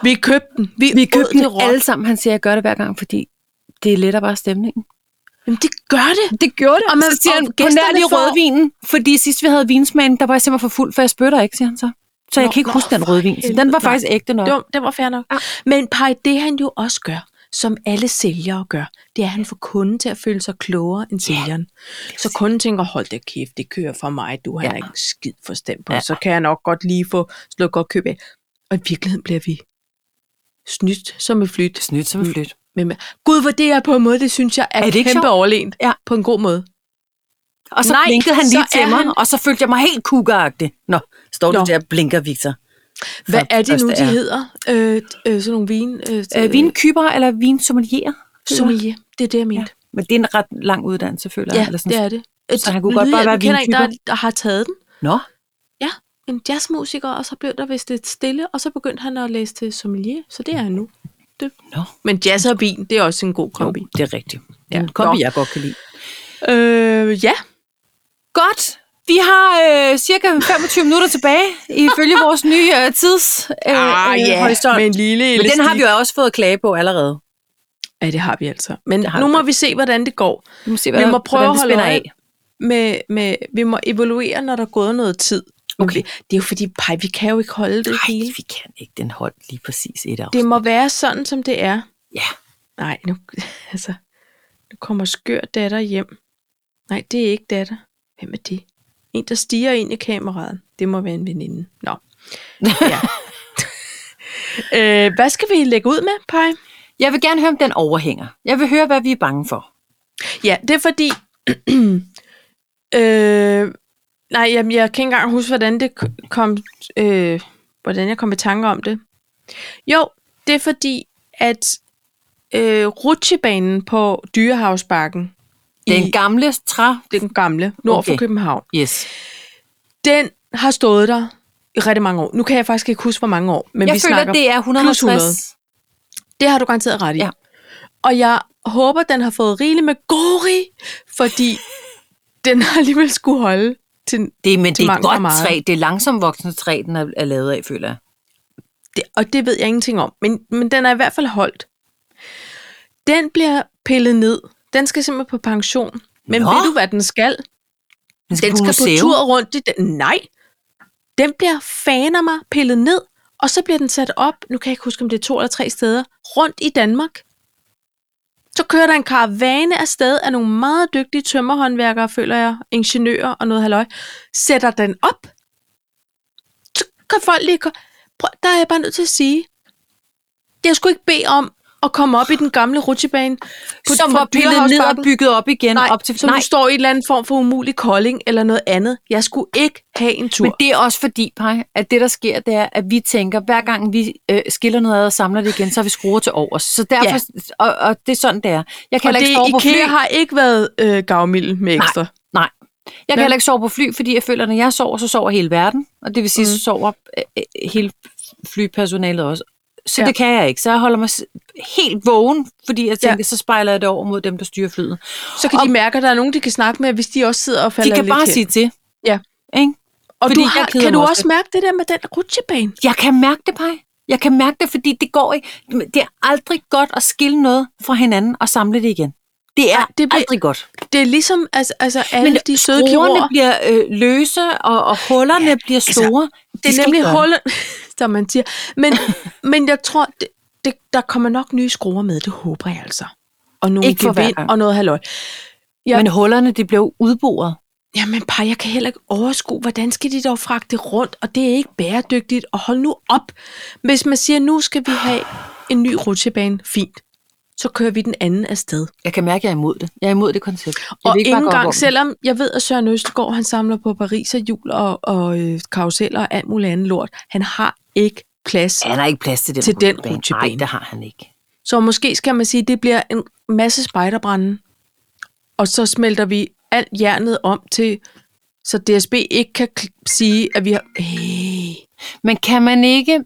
Speaker 1: Vi købte den. Vi,
Speaker 2: Vi købte
Speaker 1: den
Speaker 2: den alle sammen. Han siger, jeg gør det hver gang, fordi det letter bare stemningen.
Speaker 1: Jamen, det gør det.
Speaker 2: Det gjorde det. Og man, så siger
Speaker 1: og
Speaker 2: han, på
Speaker 1: gæsterne
Speaker 2: nær lige
Speaker 1: får-
Speaker 2: rødvinen, fordi sidst vi havde vinsmagen, der var jeg simpelthen for fuld, for jeg spytter ikke, siger han så. Så jeg
Speaker 1: Nå,
Speaker 2: kan ikke
Speaker 1: nå,
Speaker 2: huske den
Speaker 1: for
Speaker 2: rødvin. Så den
Speaker 1: helvede.
Speaker 2: var faktisk ægte nok.
Speaker 1: Jo, det var fair nok.
Speaker 2: Ja.
Speaker 1: Men Paj, det han jo også gør, som alle sælgere gør, det er, at han får kunden til at føle sig klogere end sælgeren. Så kunden tænker, hold da kæft, det kører for mig, du har
Speaker 2: Ja.
Speaker 1: ja. ikke en skid forstand på, ja.
Speaker 2: Ja.
Speaker 1: så kan jeg nok godt lige få slået godt køb af. Og i virkeligheden bliver vi snydt som et flyt.
Speaker 2: Snydt som
Speaker 1: en
Speaker 2: flyt.
Speaker 1: Men, men- Gud, hvor det er på en måde, det synes jeg er,
Speaker 2: Er det ikke
Speaker 1: kæmpe
Speaker 2: sjovt?
Speaker 1: overlegent.
Speaker 2: Ja.
Speaker 1: På en god måde.
Speaker 2: Og så
Speaker 1: Nej,
Speaker 2: Nej, blinkede han lige
Speaker 1: så er
Speaker 2: til mig,
Speaker 1: han-
Speaker 2: han... og så følte jeg mig helt kugagtig. Nå, står
Speaker 1: Nå.
Speaker 2: du Nå. der og blinker, Victor.
Speaker 1: Hvad
Speaker 2: For
Speaker 1: er det nu,
Speaker 2: første
Speaker 1: de
Speaker 2: er-
Speaker 1: hedder? Øh, øh, sådan nogle vin... Øh,
Speaker 2: Øh, vinkyber eller vinsommelier?
Speaker 1: Sommelier. Det er det, jeg mente.
Speaker 2: Ja. Men det er en ret lang uddannelse, føler jeg.
Speaker 1: Ja,
Speaker 2: Eller sådan.
Speaker 1: det er det.
Speaker 2: Så han kunne godt bare være
Speaker 1: Jeg kender en, der,
Speaker 2: vintyper.
Speaker 1: der har taget den.
Speaker 2: Nå,
Speaker 1: En jazzmusiker, og så blev der vist lidt stille, og så begyndte han at læse til sommelier, så det er han nu. Det.
Speaker 2: Nå.
Speaker 1: Men jazz og vin, det er også en god
Speaker 2: jo,
Speaker 1: kombi.
Speaker 2: det er rigtigt.
Speaker 1: Ja.
Speaker 2: Ja. En kombi,
Speaker 1: Nå.
Speaker 2: jeg godt kan lide.
Speaker 1: Øh, ja.
Speaker 2: Godt. Vi har øh, cirka 25 minutter tilbage, ifølge vores nye øh, tids øh, øh, horisont.
Speaker 1: med en lille
Speaker 2: Men den har vi jo også fået klage på allerede.
Speaker 1: Ja, det har vi altså. Men
Speaker 2: Det har
Speaker 1: nu
Speaker 2: vi
Speaker 1: må vi se, hvordan det går.
Speaker 2: Vi må se,
Speaker 1: Vi må prøve at
Speaker 2: hvordan
Speaker 1: holde
Speaker 2: det spænder
Speaker 1: øje
Speaker 2: af.
Speaker 1: med, med, vi må evaluere, når der er gået noget tid.
Speaker 2: Okay.
Speaker 1: Det, det er jo fordi, pej, vi kan jo ikke holde det
Speaker 2: Nej,
Speaker 1: hele.
Speaker 2: vi kan ikke. Den holdt lige præcis et af.
Speaker 1: Det må være sådan, som det er.
Speaker 2: Ja.
Speaker 1: Nej, nu, altså, nu kommer skør datter hjem. Nej, det er ikke datter. Hvem er det? En, der stiger ind i kameraet. Det Det må være en veninde. Nå. Ja. øh, hvad skal vi lægge ud med, Paj?
Speaker 2: Jeg vil gerne høre, om den overhænger. Jeg vil høre, hvad vi er bange for.
Speaker 1: Ja, det er fordi... øh, nej, jamen, jeg kan ikke engang huske, hvordan det k- kom... Øh, hvordan jeg kom i tanke om det. Jo, det er fordi, at øh, rutsjebanen på Dyrehavsbakken,
Speaker 2: Den
Speaker 1: I-
Speaker 2: gamle træ...
Speaker 1: den gamle, nord okay. for
Speaker 2: Okay.
Speaker 1: København,
Speaker 2: Yes.
Speaker 1: den har stået der i rigtig mange år. Nu kan jeg faktisk ikke huske, hvor mange år, men
Speaker 2: Men jeg
Speaker 1: vi
Speaker 2: føler,
Speaker 1: snakker...
Speaker 2: det er 150.
Speaker 1: 100. Det har du garanteret ret i.
Speaker 2: Ja.
Speaker 1: Og jeg håber, den har fået rigeligt med gori, fordi den har alligevel skulle holde til...
Speaker 2: Det, er- men det er et
Speaker 1: mangler
Speaker 2: godt
Speaker 1: meget.
Speaker 2: træ. Det er langsomt voksende træ, den er, er lavet af, føler jeg.
Speaker 1: Det, og det ved jeg ingenting om, men, men den er i hvert fald holdt. Den bliver pillet ned. Den skal simpelthen på pension. Men
Speaker 2: Nå.
Speaker 1: ved du, hvad den skal? Den
Speaker 2: Den
Speaker 1: skal på
Speaker 2: museum.
Speaker 1: tur rundt i den. Nej! Den bliver faner mig pillet ned, og så bliver den sat op, nu kan jeg ikke huske, om det er to eller tre steder, rundt i Danmark. Så kører der en karavane afsted af nogle meget dygtige tømmerhåndværkere, føler jeg, ingeniører og noget halløj, sætter den op. Så kan folk lige... gå- Prøv, der er jeg bare nødt til at sige, jeg skulle ikke bede om at komme op i den gamle rutsjebane. på-
Speaker 2: Som
Speaker 1: fra
Speaker 2: var pillet ned og
Speaker 1: Dyrehavsbakken.
Speaker 2: bygget op igen.
Speaker 1: Nej,
Speaker 2: op til,
Speaker 1: så nej. du står i en eller anden form for umulig kolding eller noget andet. Jeg skulle ikke have en tur.
Speaker 2: Men det er også fordi, Paj, at det, der sker, det er, at vi tænker, hver gang vi øh, skiller noget ad og samler det igen, så har vi skruer til overs. Så derfor,
Speaker 1: Ja.
Speaker 2: ja. og, og det er sådan, det er. Jeg kan
Speaker 1: og
Speaker 2: heller
Speaker 1: det
Speaker 2: ikke sove på fly.
Speaker 1: IKEA har ikke været øh, gavmild med
Speaker 2: Nej.
Speaker 1: ekstra.
Speaker 2: Nej. Jeg kan
Speaker 1: Nå.
Speaker 2: heller ikke sove på fly, fordi jeg føler, at når jeg sover, så sover hele verden. Og det vil sige, mm. så sover øh, øh, hele flypersonalet også. Så
Speaker 1: Ja.
Speaker 2: ja. det kan jeg ikke. Så jeg holder mig s- helt vågen, fordi jeg
Speaker 1: Ja.
Speaker 2: tænker, ja. så spejler jeg det over mod dem, der styrer flyet.
Speaker 1: Så kan
Speaker 2: Og-
Speaker 1: de mærke, at der er nogen, de kan snakke med, hvis de også sidder og
Speaker 2: De
Speaker 1: falder
Speaker 2: kan
Speaker 1: lidt
Speaker 2: bare
Speaker 1: hen.
Speaker 2: sige til.
Speaker 1: Ja.
Speaker 2: Ikke?
Speaker 1: og
Speaker 2: fordi
Speaker 1: du
Speaker 2: jeg
Speaker 1: har,
Speaker 2: keder
Speaker 1: kan
Speaker 2: mig
Speaker 1: du
Speaker 2: også
Speaker 1: også mærke det der med den rutsjebane?
Speaker 2: Jeg kan mærke det, Paj. Jeg kan mærke det, fordi det går ikke. men Det er aldrig godt at skille noget fra hinanden og samle det igen. Det er
Speaker 1: Nej,
Speaker 2: Ej,
Speaker 1: det
Speaker 2: det
Speaker 1: bliver-
Speaker 2: aldrig godt.
Speaker 1: Det er ligesom altså, altså alle Men de søde kirurger.
Speaker 2: skruerne bliver øh, løse, og, og hullerne ja, bliver store. Altså,
Speaker 1: Det er nemlig hullet, som man siger. Men, men jeg tror, det, det, der kommer nok nye skruer med, det håber jeg altså. Og nogle
Speaker 2: Ikke for hver
Speaker 1: gevind
Speaker 2: gang.
Speaker 1: og noget halløj. Ja.
Speaker 2: Ja. Men hullerne, det blev udboret.
Speaker 1: Jamen par, jeg kan heller ikke overskue, hvordan skal de dog fragte det rundt, og det er ikke bæredygtigt, og hold nu op. Hvis man siger, nu skal vi have en ny rutsjebane, fint, så kører vi den anden afsted.
Speaker 2: Jeg kan mærke, at jeg er imod det. Jeg er imod det koncept. Jeg
Speaker 1: Og
Speaker 2: vil
Speaker 1: ikke
Speaker 2: bakke
Speaker 1: engang
Speaker 2: op om
Speaker 1: gang,
Speaker 2: det.
Speaker 1: selvom jeg ved, at Søren Østergaard, han samler på Paris og jul og, og øh, karuseller og alt muligt andet lort, han har ikke plads.
Speaker 2: Han har ikke plads til den
Speaker 1: Til den
Speaker 2: rutsjebane.
Speaker 1: rutsjebane.
Speaker 2: Nej, det har han ikke.
Speaker 1: Så måske skal man sige, at det bliver en masse spejderbrænde, og så smelter vi alt jernet om til, så DSB ikke kan kl- sige, at vi har... Hey.
Speaker 2: Men kan man ikke...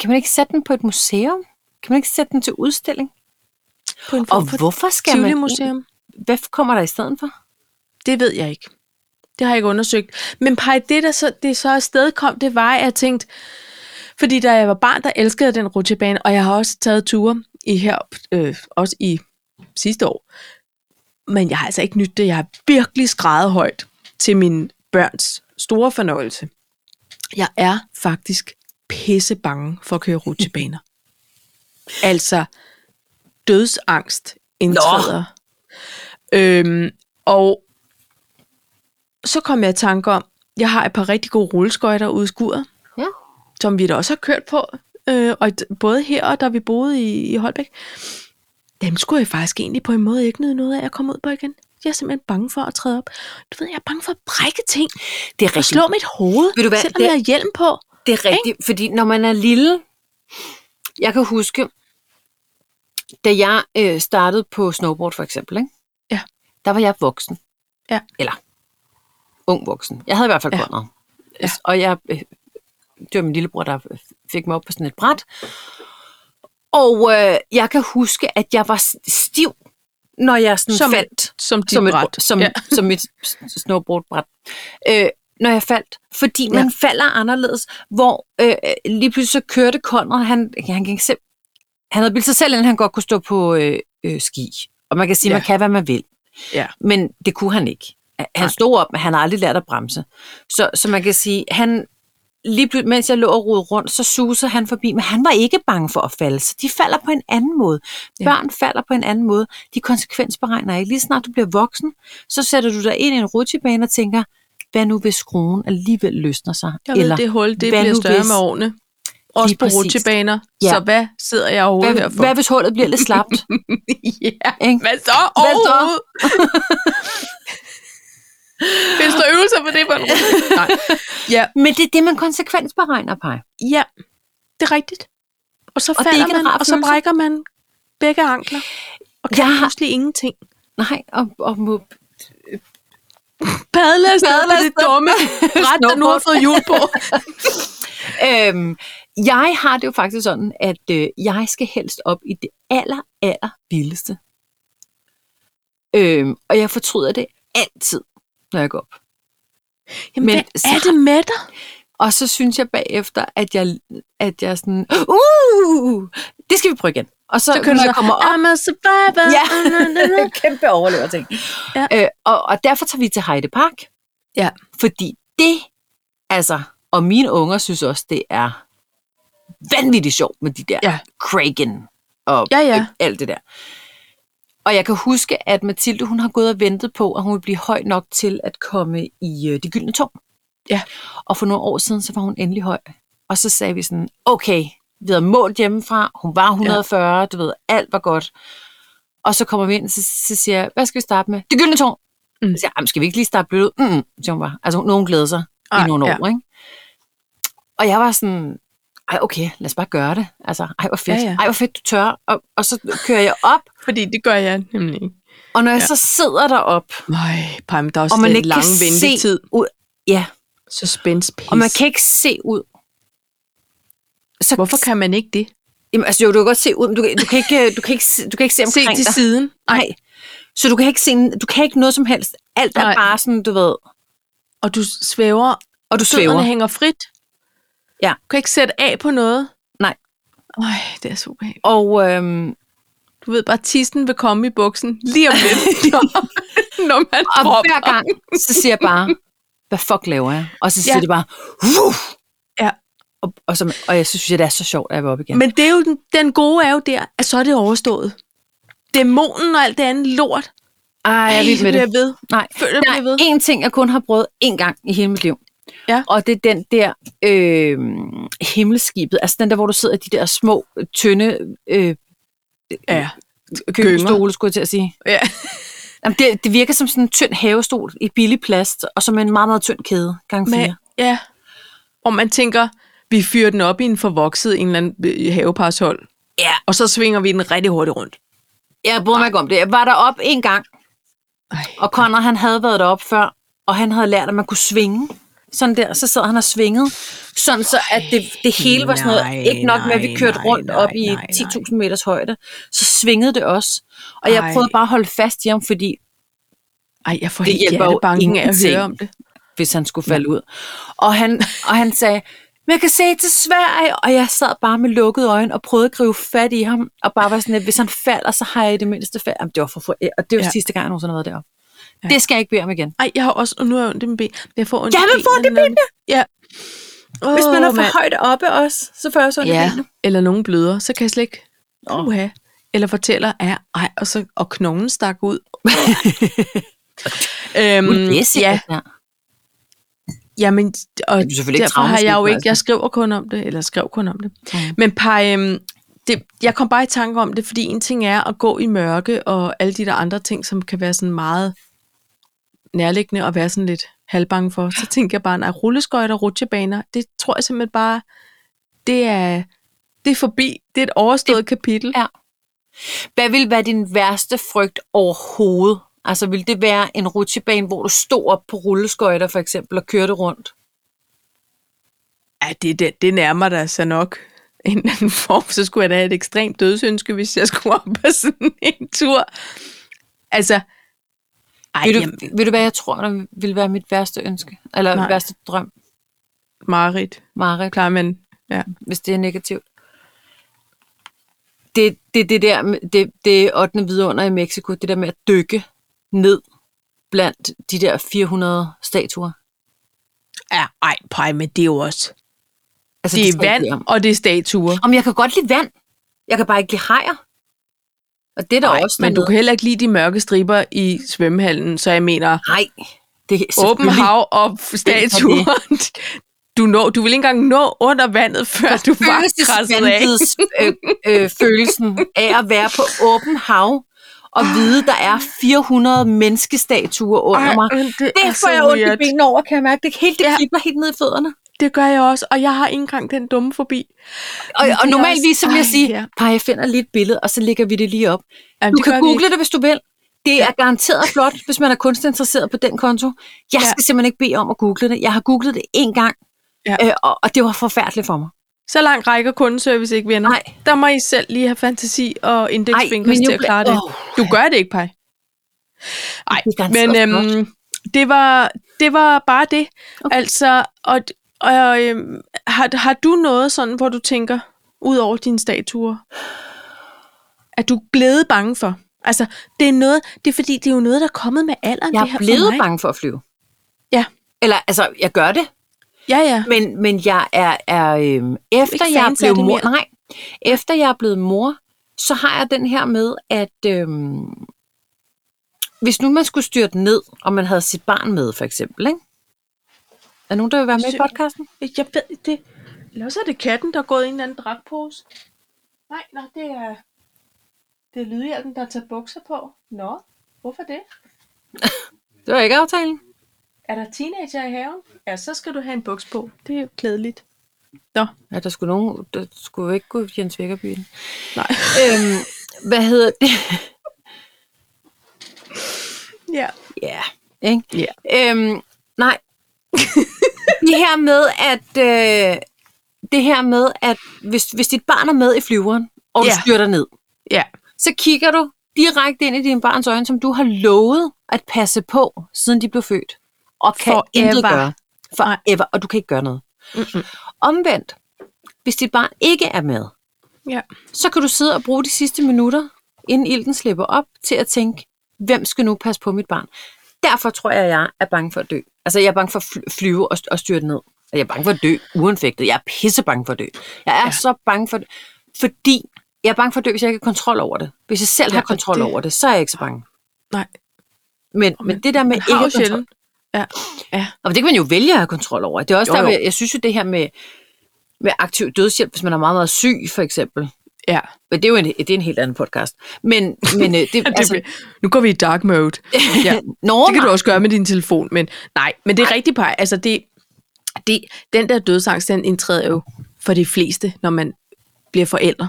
Speaker 2: Kan man ikke sætte den på et museum? Kan man ikke sætte den til udstilling?
Speaker 1: På en
Speaker 2: Og hvorfor skal man... egentlig-
Speaker 1: Tivoli-museum?
Speaker 2: Hvad kommer der i stedet for?
Speaker 1: Det ved jeg ikke. Det har jeg ikke undersøgt. Men Paj, det der så, det så afsted kom, det var, at jeg tænkte, fordi da jeg var barn, der elskede jeg den rutsjebane, og jeg har også taget ture i her, øh, også i sidste år. Men jeg har altså ikke nyt det. Jeg har virkelig skrevet højt til min børns store fornøjelse. Jeg er faktisk pisse bange for at køre rutsjebaner. altså, dødsangst indtræder. Øhm, og så kom jeg i tanke om, jeg har et par rigtig gode rulleskøjter ude i skuret,
Speaker 2: Ja.
Speaker 1: som vi da også har kørt på, øh, og d- både her og da vi boede i, i Holbæk. Dem skulle jeg faktisk egentlig på en måde ikke nyde noget af at komme ud på igen. Jeg er simpelthen bange for at træde op. Du ved, jeg er bange for at brække ting
Speaker 2: Det er
Speaker 1: og
Speaker 2: rigtigt.
Speaker 1: slå mit hoved,
Speaker 2: Ved du hvad,
Speaker 1: selvom
Speaker 2: det-
Speaker 1: jeg har hjelm på.
Speaker 2: Det er rigtigt, fordi når man er lille... Jeg kan huske, da jeg øh, startede på snowboard for eksempel, ikke?
Speaker 1: Ja.
Speaker 2: der var jeg voksen.
Speaker 1: Ja.
Speaker 2: Eller ung voksen. Jeg havde i hvert fald
Speaker 1: Ja.
Speaker 2: ja. kunnet.
Speaker 1: Ja.
Speaker 2: Og jeg, øh, det var min lillebror, der øh, fik mig op på sådan et bræt. Og øh, jeg kan huske, at jeg var s- stiv, når jeg sådan
Speaker 1: Som-
Speaker 2: faldt
Speaker 1: Som dit
Speaker 2: som et,
Speaker 1: bræt.
Speaker 2: som,
Speaker 1: ja.
Speaker 2: ja. som et s- s- snowboardbræt, øh, når jeg faldt. Fordi man ja. falder anderledes, hvor øh, øh, lige pludselig så kørte Conrad, han, han, gik selv, han havde bildt sig selv, ind, at han godt kunne stå på øh, øh, ski. Og man kan sige,
Speaker 1: Ja.
Speaker 2: ja. man kan, hvad man vil.
Speaker 1: Ja.
Speaker 2: Men det kunne han ikke. Han Nej. stod op, men han har aldrig lært at bremse. Så, så man kan sige, han lige pludselig, mens jeg lå og rodede rundt, så susede han forbi, men han var ikke bange for at falde, så de falder på en anden måde.
Speaker 1: Ja.
Speaker 2: Børn falder på en anden måde. De konsekvensberegner ikke. Lige snart du bliver voksen, så sætter du dig ind i en rutsjebane og tænker, hvad nu hvis skruen alligevel løsner sig?
Speaker 1: Jeg ved, det hul, det
Speaker 2: hvad
Speaker 1: bliver
Speaker 2: nu
Speaker 1: større
Speaker 2: hvis-
Speaker 1: med årene. Også
Speaker 2: Lige
Speaker 1: på
Speaker 2: præcis.
Speaker 1: rutsjebaner.
Speaker 2: Ja.
Speaker 1: Så hvad sidder jeg overhovedet
Speaker 2: hvad,
Speaker 1: her for?
Speaker 2: hvad hvis hullet bliver lidt slapt?
Speaker 1: ja.
Speaker 2: Ikke?
Speaker 1: Hvad så
Speaker 2: Hvad så?
Speaker 1: overhovedet? Findes der øvelser på det på en rute? Nej. Ja.
Speaker 2: Men det er det, man konsekvensberegner, Paj.
Speaker 1: ja, det er rigtigt. Og så
Speaker 2: det er
Speaker 1: falder
Speaker 2: ikke en rar
Speaker 1: man, og så
Speaker 2: følelse.
Speaker 1: brækker man begge ankler. Og kan
Speaker 2: Jeg har-
Speaker 1: pludselig ingenting.
Speaker 2: Nej, og, og må
Speaker 1: Padle afsted
Speaker 2: Padle
Speaker 1: på det
Speaker 2: afsted.
Speaker 1: dumme ret, der nu har
Speaker 2: Snowboard.
Speaker 1: fået jul på.
Speaker 2: Øhm, jeg har det jo faktisk sådan, at øh, jeg skal helst op i det aller, aller vildeste. Øhm, og jeg fortryder det altid, når jeg går op.
Speaker 1: Jamen,
Speaker 2: Men
Speaker 1: Men hvad
Speaker 2: så-
Speaker 1: er det med dig?
Speaker 2: Og så synes jeg bagefter, at jeg, at jeg er sådan, uh, det skal vi prøve igen. Og så,
Speaker 1: Så kan du
Speaker 2: når
Speaker 1: så,
Speaker 2: jeg kommer op,
Speaker 1: I'm a survivor.
Speaker 2: Ja.
Speaker 1: Na, na, na.
Speaker 2: kæmpe overlever ting.
Speaker 1: Ja.
Speaker 2: Øh, og, og derfor tager vi til Heide Park.
Speaker 1: Ja.
Speaker 2: Fordi det, altså, og mine unger synes også, det er vanvittigt sjovt med de der
Speaker 1: Ja.
Speaker 2: Kraken og
Speaker 1: Ja, ja.
Speaker 2: øh, alt det der. Og jeg kan huske, at Mathilde, hun har gået og ventet på, at hun ville blive høj nok til at komme i øh, det gyldne tårn.
Speaker 1: Ja.
Speaker 2: Og for nogle år siden, så var hun endelig høj. Og så sagde vi sådan, okay, vi havde målt hjemmefra, hun var 140, ja. du ved, alt var godt. Og så kommer vi ind, så, så siger jeg, hvad skal vi starte med? Det gyldne tårn.
Speaker 1: Mm.
Speaker 2: Mm. Så siger jeg, "Jamen, skal vi ikke lige starte blødt ud? Mm, mm, siger hun bare. Altså, nogen glæder sig
Speaker 1: Ej,
Speaker 2: i nogle år,
Speaker 1: ja.
Speaker 2: ja. ikke? Og jeg var sådan, ej okay, lad os bare gøre det. Altså, ej hvor fedt,
Speaker 1: Ja,
Speaker 2: ja,
Speaker 1: ja.
Speaker 2: ja. ej hvor fedt du tør. Og, og så kører jeg op,
Speaker 1: Fordi det gør jeg nemlig ikke.
Speaker 2: og når jeg
Speaker 1: Ja.
Speaker 2: ja. så sidder derop,
Speaker 1: Nej, Paj, men der er også
Speaker 2: og man
Speaker 1: den
Speaker 2: ikke
Speaker 1: lange
Speaker 2: kan
Speaker 1: ventetid.
Speaker 2: se ud, ja,
Speaker 1: Suspense pis.
Speaker 2: og man kan ikke se ud. Så,
Speaker 1: Hvorfor kan man ikke det?
Speaker 2: Jamen, altså, jo, du kan godt se ud, men du kan, du kan ikke, du kan ikke, se- du kan ikke se
Speaker 1: Se
Speaker 2: omkring
Speaker 1: til
Speaker 2: dig.
Speaker 1: siden.
Speaker 2: Nej. Så du kan ikke se, du kan ikke noget som helst. Alt er
Speaker 1: Nej.
Speaker 2: Nej. bare sådan, du ved,
Speaker 1: Og du svæver.
Speaker 2: og
Speaker 1: Fødderne
Speaker 2: du svæver.
Speaker 1: hænger frit.
Speaker 2: Ja.
Speaker 1: Du kan ikke sætte af på noget.
Speaker 2: Nej.
Speaker 1: Øj, det er super
Speaker 2: Og øhm,
Speaker 1: Du ved bare, tissen vil komme i buksen lige om lidt, når- når man
Speaker 2: Og
Speaker 1: dropper.
Speaker 2: hver gang, så siger jeg bare, hvad fuck laver jeg? Og så siger
Speaker 1: Ja.
Speaker 2: ja. det bare, Wuh!
Speaker 1: Ja.
Speaker 2: Og, og, så, og jeg synes, det er så sjovt, at jeg var op igen.
Speaker 1: Men det er jo den, den gode er jo der, at så er det overstået. Dæmonen og alt det andet lort.
Speaker 2: ej, jeg er vild med
Speaker 1: bliver
Speaker 2: det.
Speaker 1: ved.
Speaker 2: Nej.
Speaker 1: Føler,
Speaker 2: Der
Speaker 1: bliver ved.
Speaker 2: er én ting, jeg kun har prøvet én gang i hele mit liv.
Speaker 1: Ja.
Speaker 2: Og det er den der øh, himmelskibet. Altså den der, hvor du sidder i de der små, tynde øh,
Speaker 1: Ja.
Speaker 2: køkkenstole, skulle jeg til at sige.
Speaker 1: Ja.
Speaker 2: Jamen, det, det virker som sådan en tynd havestol i billig plast, og som en meget, meget tynd kæde, gang fire.
Speaker 1: Men, ja. Og man tænker, vi fyrer den op i en forvokset en eller anden øh, haveparshol.
Speaker 2: Ja.
Speaker 1: Og så svinger vi den rigtig hurtigt rundt.
Speaker 2: Jeg bryder mig ikke om det. Jeg var der op en gang,
Speaker 1: Ej.
Speaker 2: Og Conrad, han havde været deroppe før, og han havde lært, at man kunne svinge. Sådan der, så sad han og svinget, sådan så at det, det hele var sådan noget,
Speaker 1: Nej,
Speaker 2: ikke nok med, at vi
Speaker 1: nej,
Speaker 2: kørte
Speaker 1: nej,
Speaker 2: rundt
Speaker 1: nej,
Speaker 2: op
Speaker 1: nej, nej.
Speaker 2: i 10.000 meters højde, så svingede det også. Og jeg
Speaker 1: Ej.
Speaker 2: prøvede bare at holde fast i ham, fordi
Speaker 1: Ej, jeg får
Speaker 2: Det
Speaker 1: helt
Speaker 2: hjælper jo
Speaker 1: hjertebanken af at
Speaker 2: ingenting.
Speaker 1: høre om det.
Speaker 2: hvis han skulle falde ud. Og han, og han sagde, men jeg kan se til Sverige, og jeg sad bare med lukkede øjne og prøvede at gribe fat i ham, og bare var sådan, at hvis han falder, så har jeg i det mindste fald. Jamen, det var for, for og det var
Speaker 1: Ja.
Speaker 2: ja. sidste gang, jeg nogensinde har været deroppe.
Speaker 1: Ja.
Speaker 2: Ja. Det skal jeg ikke bede om igen.
Speaker 1: Ej, jeg har også, og nu har jeg ondt i min ben. Jeg får ondt
Speaker 2: Jeg vil få ondt i
Speaker 1: benene. Ja. Oh,
Speaker 2: Hvis man er for højt oppe også, så får jeg sådan
Speaker 1: Ja,
Speaker 2: ja.
Speaker 1: eller nogen bløder, så kan jeg slet ikke
Speaker 2: Nå.
Speaker 1: uha. Eller fortæller, ja, ej, og, så, og knoglen stak ud. øhm, ja,
Speaker 2: Mm, ja.
Speaker 1: jamen, og
Speaker 2: Det er selvfølgelig ikke
Speaker 1: derfor har jeg jo
Speaker 2: traumesmittende,
Speaker 1: ikke, jeg
Speaker 2: altså.
Speaker 1: skriver kun om det, eller skrev kun om det.
Speaker 2: Mm.
Speaker 1: Men Paj, øhm, det, jeg kom bare i tanke om det, fordi en ting er at gå i mørke, og alle de der andre ting, som kan være sådan meget nærliggende og være sådan lidt halvbange for, så tænker jeg bare, nej, rulleskøjter og rutsjebaner, det tror jeg simpelthen bare, det er, det er forbi. Det er et overstået det, kapitel.
Speaker 2: Ja. Hvad ville være din værste frygt overhovedet? Altså, ville det være en rutsjebane, hvor du stod op på rulleskøjter for eksempel og kørte rundt?
Speaker 1: Ja, det, det, det nærmer der sig nok en eller anden form. Så skulle jeg da have et ekstremt dødsønske, hvis jeg skulle op på sådan en tur. Altså, ej,
Speaker 2: Vil
Speaker 1: jamen,
Speaker 2: du, vil du hvad jeg tror, der ville være mit værste ønske? Eller
Speaker 1: Nej.
Speaker 2: Nej. værste drøm,
Speaker 1: Marit,
Speaker 2: Marit,
Speaker 1: plejer man. Ja.
Speaker 2: hvis det er negativt? Det det, det der, med- det, det 8. vidunder i Mexico, det der med at dykke ned blandt de der 400 statuer.
Speaker 1: ja, ej, pej, men det er jo også.
Speaker 2: Altså,
Speaker 1: Det er
Speaker 2: skal jeg ikke bede om.
Speaker 1: vand, og det er statuer.
Speaker 2: Om jeg kan godt lide vand. Jeg kan bare ikke lide hajer. Og det er der
Speaker 1: Nej,
Speaker 2: også
Speaker 1: men du
Speaker 2: dernede.
Speaker 1: kan heller ikke lide de mørke striber i svømmehallen, så jeg mener,
Speaker 2: Nej, det er
Speaker 1: Åben
Speaker 2: selvfølgelig-
Speaker 1: hav og statuer. Du, når, du vil ikke engang nå under vandet, før du var krasset af.
Speaker 2: øh, øh, følelsen af at være på åben hav og vide, der er 400 menneskestatuer under mig.
Speaker 1: men det,
Speaker 2: Det får jeg ondt i benene over, kan jeg mærke. Det, hele, det
Speaker 1: Ja.
Speaker 2: kibler helt ned i fødderne.
Speaker 1: Det gør jeg også, og jeg har ikke engang den dumme forbi.
Speaker 2: Og,
Speaker 1: Men det
Speaker 2: og
Speaker 1: er
Speaker 2: normalvis
Speaker 1: også-
Speaker 2: så vil jeg
Speaker 1: Ej,
Speaker 2: sige,
Speaker 1: ja.
Speaker 2: par, jeg finder lige et billede, og så lægger vi det lige op.
Speaker 1: Jamen,
Speaker 2: Du
Speaker 1: det gør
Speaker 2: kan
Speaker 1: vi
Speaker 2: google det, hvis du vil. Det er garanteret flot, hvis man er kunstinteresseret på den konto. Jeg
Speaker 1: Ja.
Speaker 2: skal simpelthen ikke bede om at google det. Jeg har googlet det én gang,
Speaker 1: Ja.
Speaker 2: øh, og, og det var forfærdeligt for mig.
Speaker 1: ikke. Så langt rækker kundeservice ikke, venner.
Speaker 2: Nej.
Speaker 1: Der må I selv lige have fantasi og
Speaker 2: men
Speaker 1: indeksfingers
Speaker 2: nu
Speaker 1: til at
Speaker 2: blev-
Speaker 1: klare det.
Speaker 2: Åh.
Speaker 1: Du gør det ikke, Paj. Nej,
Speaker 2: Det er ganske
Speaker 1: men
Speaker 2: godt.
Speaker 1: øhm, det, var, det var bare det. Okay. Altså, og, og øhm, har, har du noget sådan, hvor du tænker, ud over dine statuer, at du er blevet bange for? Altså, det er, noget, det er fordi, det er jo noget, der er kommet med alderen.
Speaker 2: Jeg
Speaker 1: det her
Speaker 2: er
Speaker 1: for
Speaker 2: blevet
Speaker 1: mig.
Speaker 2: bange for at flyve.
Speaker 1: Ja.
Speaker 2: Eller, altså, jeg gør det,
Speaker 1: Ja, ja.
Speaker 2: men, men jeg er, er øhm, efter
Speaker 1: ikke
Speaker 2: jeg er
Speaker 1: fans af
Speaker 2: blevet
Speaker 1: det
Speaker 2: mor,
Speaker 1: mere.
Speaker 2: nej, efter jeg er blevet mor, så har jeg den her med, at øhm, hvis nu man skulle styrte ned, og man havde sit barn med, for eksempel, ikke? Er nogen, der vil være med i
Speaker 1: Sy-
Speaker 2: podcasten?
Speaker 1: Jeg ved det. Eller også er det katten, der er gået i en eller anden dragpose. Nej, nej, det er... Det er lydhjælpen, der tager bukser på. Nå, hvorfor det?
Speaker 2: Det var ikke aftalen.
Speaker 1: Er der teenager i haven? Ja, så skal du have en buks på. Det er jo klædeligt. Nå,
Speaker 2: Ja, der skulle, nogen, der skulle jo ikke gå Jens Vækkerby. i den.
Speaker 1: nej.
Speaker 2: Øhm, hvad hedder det?
Speaker 1: Ja.
Speaker 2: Ja. Ikke?
Speaker 1: Ja.
Speaker 2: Øhm, nej. det her med, at øh, det her med, at hvis, hvis dit barn er med i flyveren, og du
Speaker 1: Ja.
Speaker 2: styrter ned,
Speaker 1: Ja.
Speaker 2: så kigger du direkte ind i din barns øjne, som du har lovet at passe på, siden de blev født. Og kan
Speaker 1: Forever.
Speaker 2: intet gøre.
Speaker 1: Nej.
Speaker 2: Forever. Og du kan ikke gøre noget.
Speaker 1: Mm-mm.
Speaker 2: Omvendt, hvis dit barn ikke er med,
Speaker 1: Ja.
Speaker 2: så kan du sidde og bruge de sidste minutter, inden ilden slipper op, til at tænke, hvem skal nu passe på mit barn? Derfor tror jeg, at jeg er bange for at dø. Altså, jeg er bange for at fly- flyve og, st- og styrte ned. Og jeg er bange for at dø uanfægtet. Jeg er pisse bange for at dø. Jeg er ja. så bange for at dø, fordi jeg er bange for at dø, hvis jeg ikke har kontrol over det. Hvis jeg selv
Speaker 1: Ja,
Speaker 2: ja, har
Speaker 1: og
Speaker 2: kontrol
Speaker 1: det-
Speaker 2: det... over det, så er jeg ikke så bange.
Speaker 1: Nej.
Speaker 2: Men, men,
Speaker 1: man-
Speaker 2: men det der med
Speaker 1: Man
Speaker 2: ikke
Speaker 1: har jo
Speaker 2: at kontrol,
Speaker 1: sjældent. Ja. Ja.
Speaker 2: og det kan man jo vælge at have kontrol over. Det er også
Speaker 1: Jo,
Speaker 2: jo, der,
Speaker 1: jo.
Speaker 2: med, jeg synes jo det her med, med aktiv dødshjælp, hvis man er meget, meget syg, for eksempel.
Speaker 1: ja.
Speaker 2: Men det er jo en, det er en helt anden podcast. Men, men øh, det,
Speaker 1: Altså,
Speaker 2: altså,
Speaker 1: nu går vi i dark mode. Ja.
Speaker 2: Nå,
Speaker 1: Det kan du også gøre med din telefon, men nej, men det er rigtig pej. Altså det, det, den der dødsangst, den indtræder jo for de fleste, når man bliver forældre.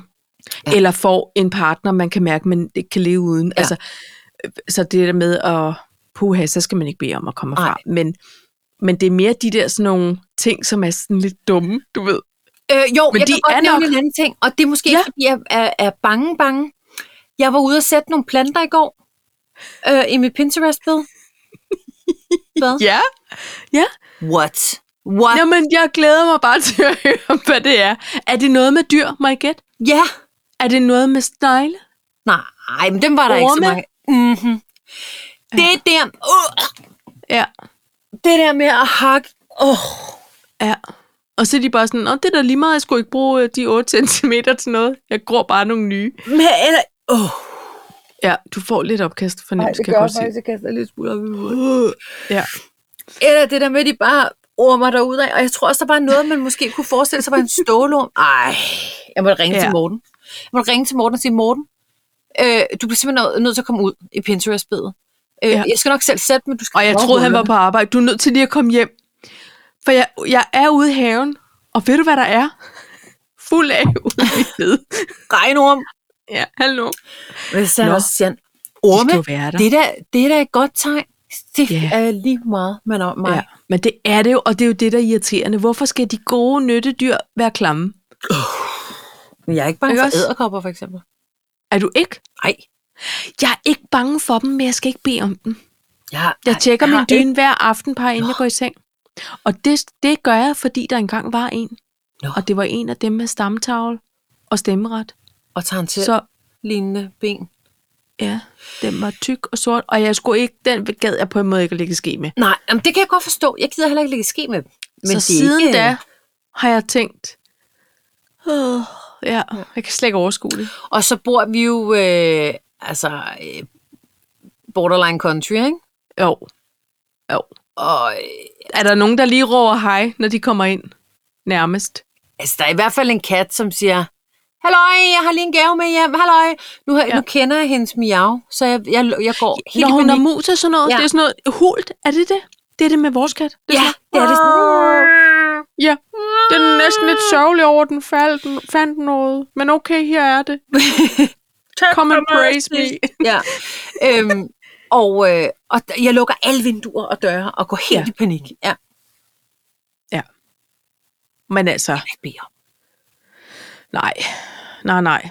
Speaker 1: Ja.
Speaker 2: Ja.
Speaker 1: Eller får en partner, man kan mærke, man ikke kan leve uden. Ja.
Speaker 2: Ja.
Speaker 1: Altså, øh, så det der med at puha, så skal man ikke bede om at komme fra.
Speaker 2: Nej.
Speaker 1: Men, men det er mere de der sådan nogle ting, som er sådan lidt dumme, du ved.
Speaker 2: Øh, jo,
Speaker 1: Men
Speaker 2: men jeg
Speaker 1: de
Speaker 2: kan godt
Speaker 1: er
Speaker 2: nævne
Speaker 1: nok-
Speaker 2: en anden ting, og det er måske
Speaker 1: Ja.
Speaker 2: ja. ikke, fordi jeg er, er bange, bange. Jeg var ude og sætte nogle planter i går øh, i mit Pinterest-bed. Hvad?
Speaker 1: Ja, ja.
Speaker 2: What? What? Ja.
Speaker 1: Jamen, jeg glæder mig bare til at høre, hvad det er. Er det noget med dyr, må jeg gætte?
Speaker 2: ja.
Speaker 1: Er det noget med snegle?
Speaker 2: Nej, men dem var der ikke så
Speaker 1: Orme?
Speaker 2: mange. Mm-hmm. Det der, uh,
Speaker 1: Ja.
Speaker 2: det der med at hakke. Oh.
Speaker 1: Ja. Og så er de bare sådan, Nå, det er da lige meget, jeg skulle ikke bruge øh, de 8 cm til noget. Jeg gror bare nogle nye.
Speaker 2: Men, eller, oh.
Speaker 1: Ja, du får lidt opkast fornemmelse, kan jeg godt sige.
Speaker 2: jeg kaster lidt smule op i hovedet.
Speaker 1: Uh, ja.
Speaker 2: Eller det der med, at de bare ormer derude af. Og jeg tror også, der var noget, man måske kunne forestille sig var en stålorm. Ej, jeg måtte ringe
Speaker 1: Ja.
Speaker 2: ja. til Morten. Jeg måtte ringe til Morten og sige, Morten, øh, du bliver simpelthen nødt- nødt til at komme ud i Pinterest-bedet. Øh,
Speaker 1: Ja.
Speaker 2: ja. Jeg skal nok selv sætte men du skal
Speaker 1: Og jeg
Speaker 2: grave
Speaker 1: troede, han var
Speaker 2: hullerne."
Speaker 1: på arbejde. Du er nødt til lige at komme hjem. For jeg, jeg er ude i haven, og ved du, hvad der er? Fuld af ude i fede.
Speaker 2: regnorm.
Speaker 1: Ja, hallo.
Speaker 2: Men så
Speaker 1: Nå.
Speaker 2: er siger han, orme,
Speaker 1: De skal jo være der."
Speaker 2: det, der, det er da et godt tegn. Det
Speaker 1: Ja.
Speaker 2: yeah. er lige meget, man om mig.
Speaker 1: Ja, men det er det jo, og det er jo det, der er irriterende. Hvorfor skal de gode nyttedyr være klamme?
Speaker 2: Men jeg er ikke bange
Speaker 1: Ikke
Speaker 2: for
Speaker 1: også?
Speaker 2: æderkopper, for eksempel.
Speaker 1: Er du ikke?
Speaker 2: Nej.
Speaker 1: Jeg er ikke bange for dem, men jeg skal ikke bede om dem.
Speaker 2: Jeg,
Speaker 1: Jeg tjekker
Speaker 2: jeg
Speaker 1: min
Speaker 2: har
Speaker 1: dyne hver aften, par, inden jeg går i seng. Og det, det gør jeg, fordi der engang var en.
Speaker 2: Nå.
Speaker 1: Og det var en af dem med stamtavle og stemmeret.
Speaker 2: ikke- Og tager en til
Speaker 1: Så
Speaker 2: lignende ben.
Speaker 1: ja, den var tyk og sort. Og jeg skulle ikke, den gad jeg på en måde ikke at lægge ske med.
Speaker 2: Nej, jamen, det kan jeg godt forstå. Jeg gider heller ikke lægge ske med dem.
Speaker 1: Men så
Speaker 2: det er
Speaker 1: siden
Speaker 2: ikke-
Speaker 1: da har jeg tænkt, "Åh, ja, jeg kan slet ikke overskue det.
Speaker 2: Og så bor vi jo, øh, altså, øh, borderline country, ikke?
Speaker 1: Jo, jo.
Speaker 2: Og øh,
Speaker 1: Er der nogen, der lige råber hej, når de kommer ind? Nærmest.
Speaker 2: altså, der er i hvert fald en kat, som siger, Halløj, jeg har lige en gave med hjem. Halløj. Nu, har, ja.
Speaker 1: Ja.
Speaker 2: nu kender jeg hendes miau, så jeg, jeg, jeg går helt
Speaker 1: Når
Speaker 2: i
Speaker 1: hun er
Speaker 2: panik.
Speaker 1: mus og sådan noget,
Speaker 2: Ja.
Speaker 1: ja. det er sådan noget hult. Er det det? Det er det med vores kat.
Speaker 2: Ja, det er det sådan.
Speaker 1: sådan. Ja, det er næsten lidt sørgeligt over, at den faldt, fandt noget. Men okay, her er det. Come and praise me.
Speaker 2: Ja. Øhm, og, øh, og d- jeg lukker alle vinduer og døre og går helt ja.
Speaker 1: Ja.
Speaker 2: i panik. Ja,
Speaker 1: Men altså,
Speaker 2: jeg beder.
Speaker 1: nej. Nej, nej.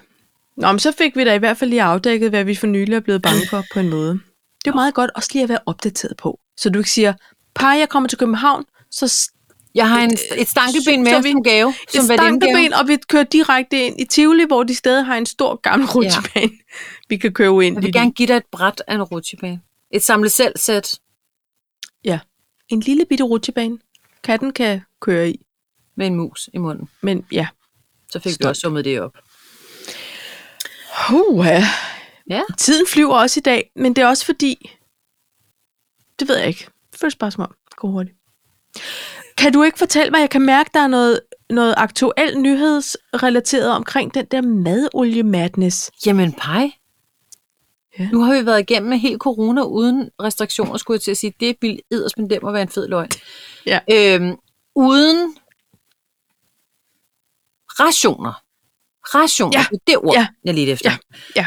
Speaker 1: Nå, men så fik vi da i hvert fald lige afdækket, hvad vi for nylig er blevet bange for på en måde. Det er jo meget godt også lige at være opdateret på. Så du ikke siger, par jeg kommer til København, så
Speaker 2: Jeg har en, et stankeben med
Speaker 1: Så
Speaker 2: som,
Speaker 1: vi-
Speaker 2: som gave.
Speaker 1: som
Speaker 2: som
Speaker 1: et
Speaker 2: venindegave.
Speaker 1: stankeben, og vi kører direkte ind i Tivoli, hvor de stadig har en stor gammel rutsjebane, ja. vi kan købe ind i.
Speaker 2: Jeg vil gerne give dig et bræt af en rutsjebane. Et samle selv sæt
Speaker 1: En lille bitte rutsjebane, katten kan køre i,
Speaker 2: med en mus i munden.
Speaker 1: men ja.
Speaker 2: Så fik Stop. vi
Speaker 1: Stop.
Speaker 2: også summet det op.
Speaker 1: Uh,
Speaker 2: Ja.
Speaker 1: Tiden flyver også i dag, men det er også fordi, det ved jeg ikke, det føles bare som om, det går hurtigt. Kan du ikke fortælle mig, jeg kan mærke, der er noget, noget aktuel nyhedsrelateret omkring den der madoliemadness.
Speaker 2: Jamen, pej. Ja.
Speaker 1: Ja.
Speaker 2: Nu har vi været igennem med helt corona uden restriktioner, skulle jeg til at sige. Det vil edderspændt dem at være en fed løgn.
Speaker 1: Ja.
Speaker 2: Øhm, uden rationer. Rationer,
Speaker 1: Ja.
Speaker 2: det er det ord, ja.
Speaker 1: Ja.
Speaker 2: jeg lidt efter.
Speaker 1: Ja. Ja.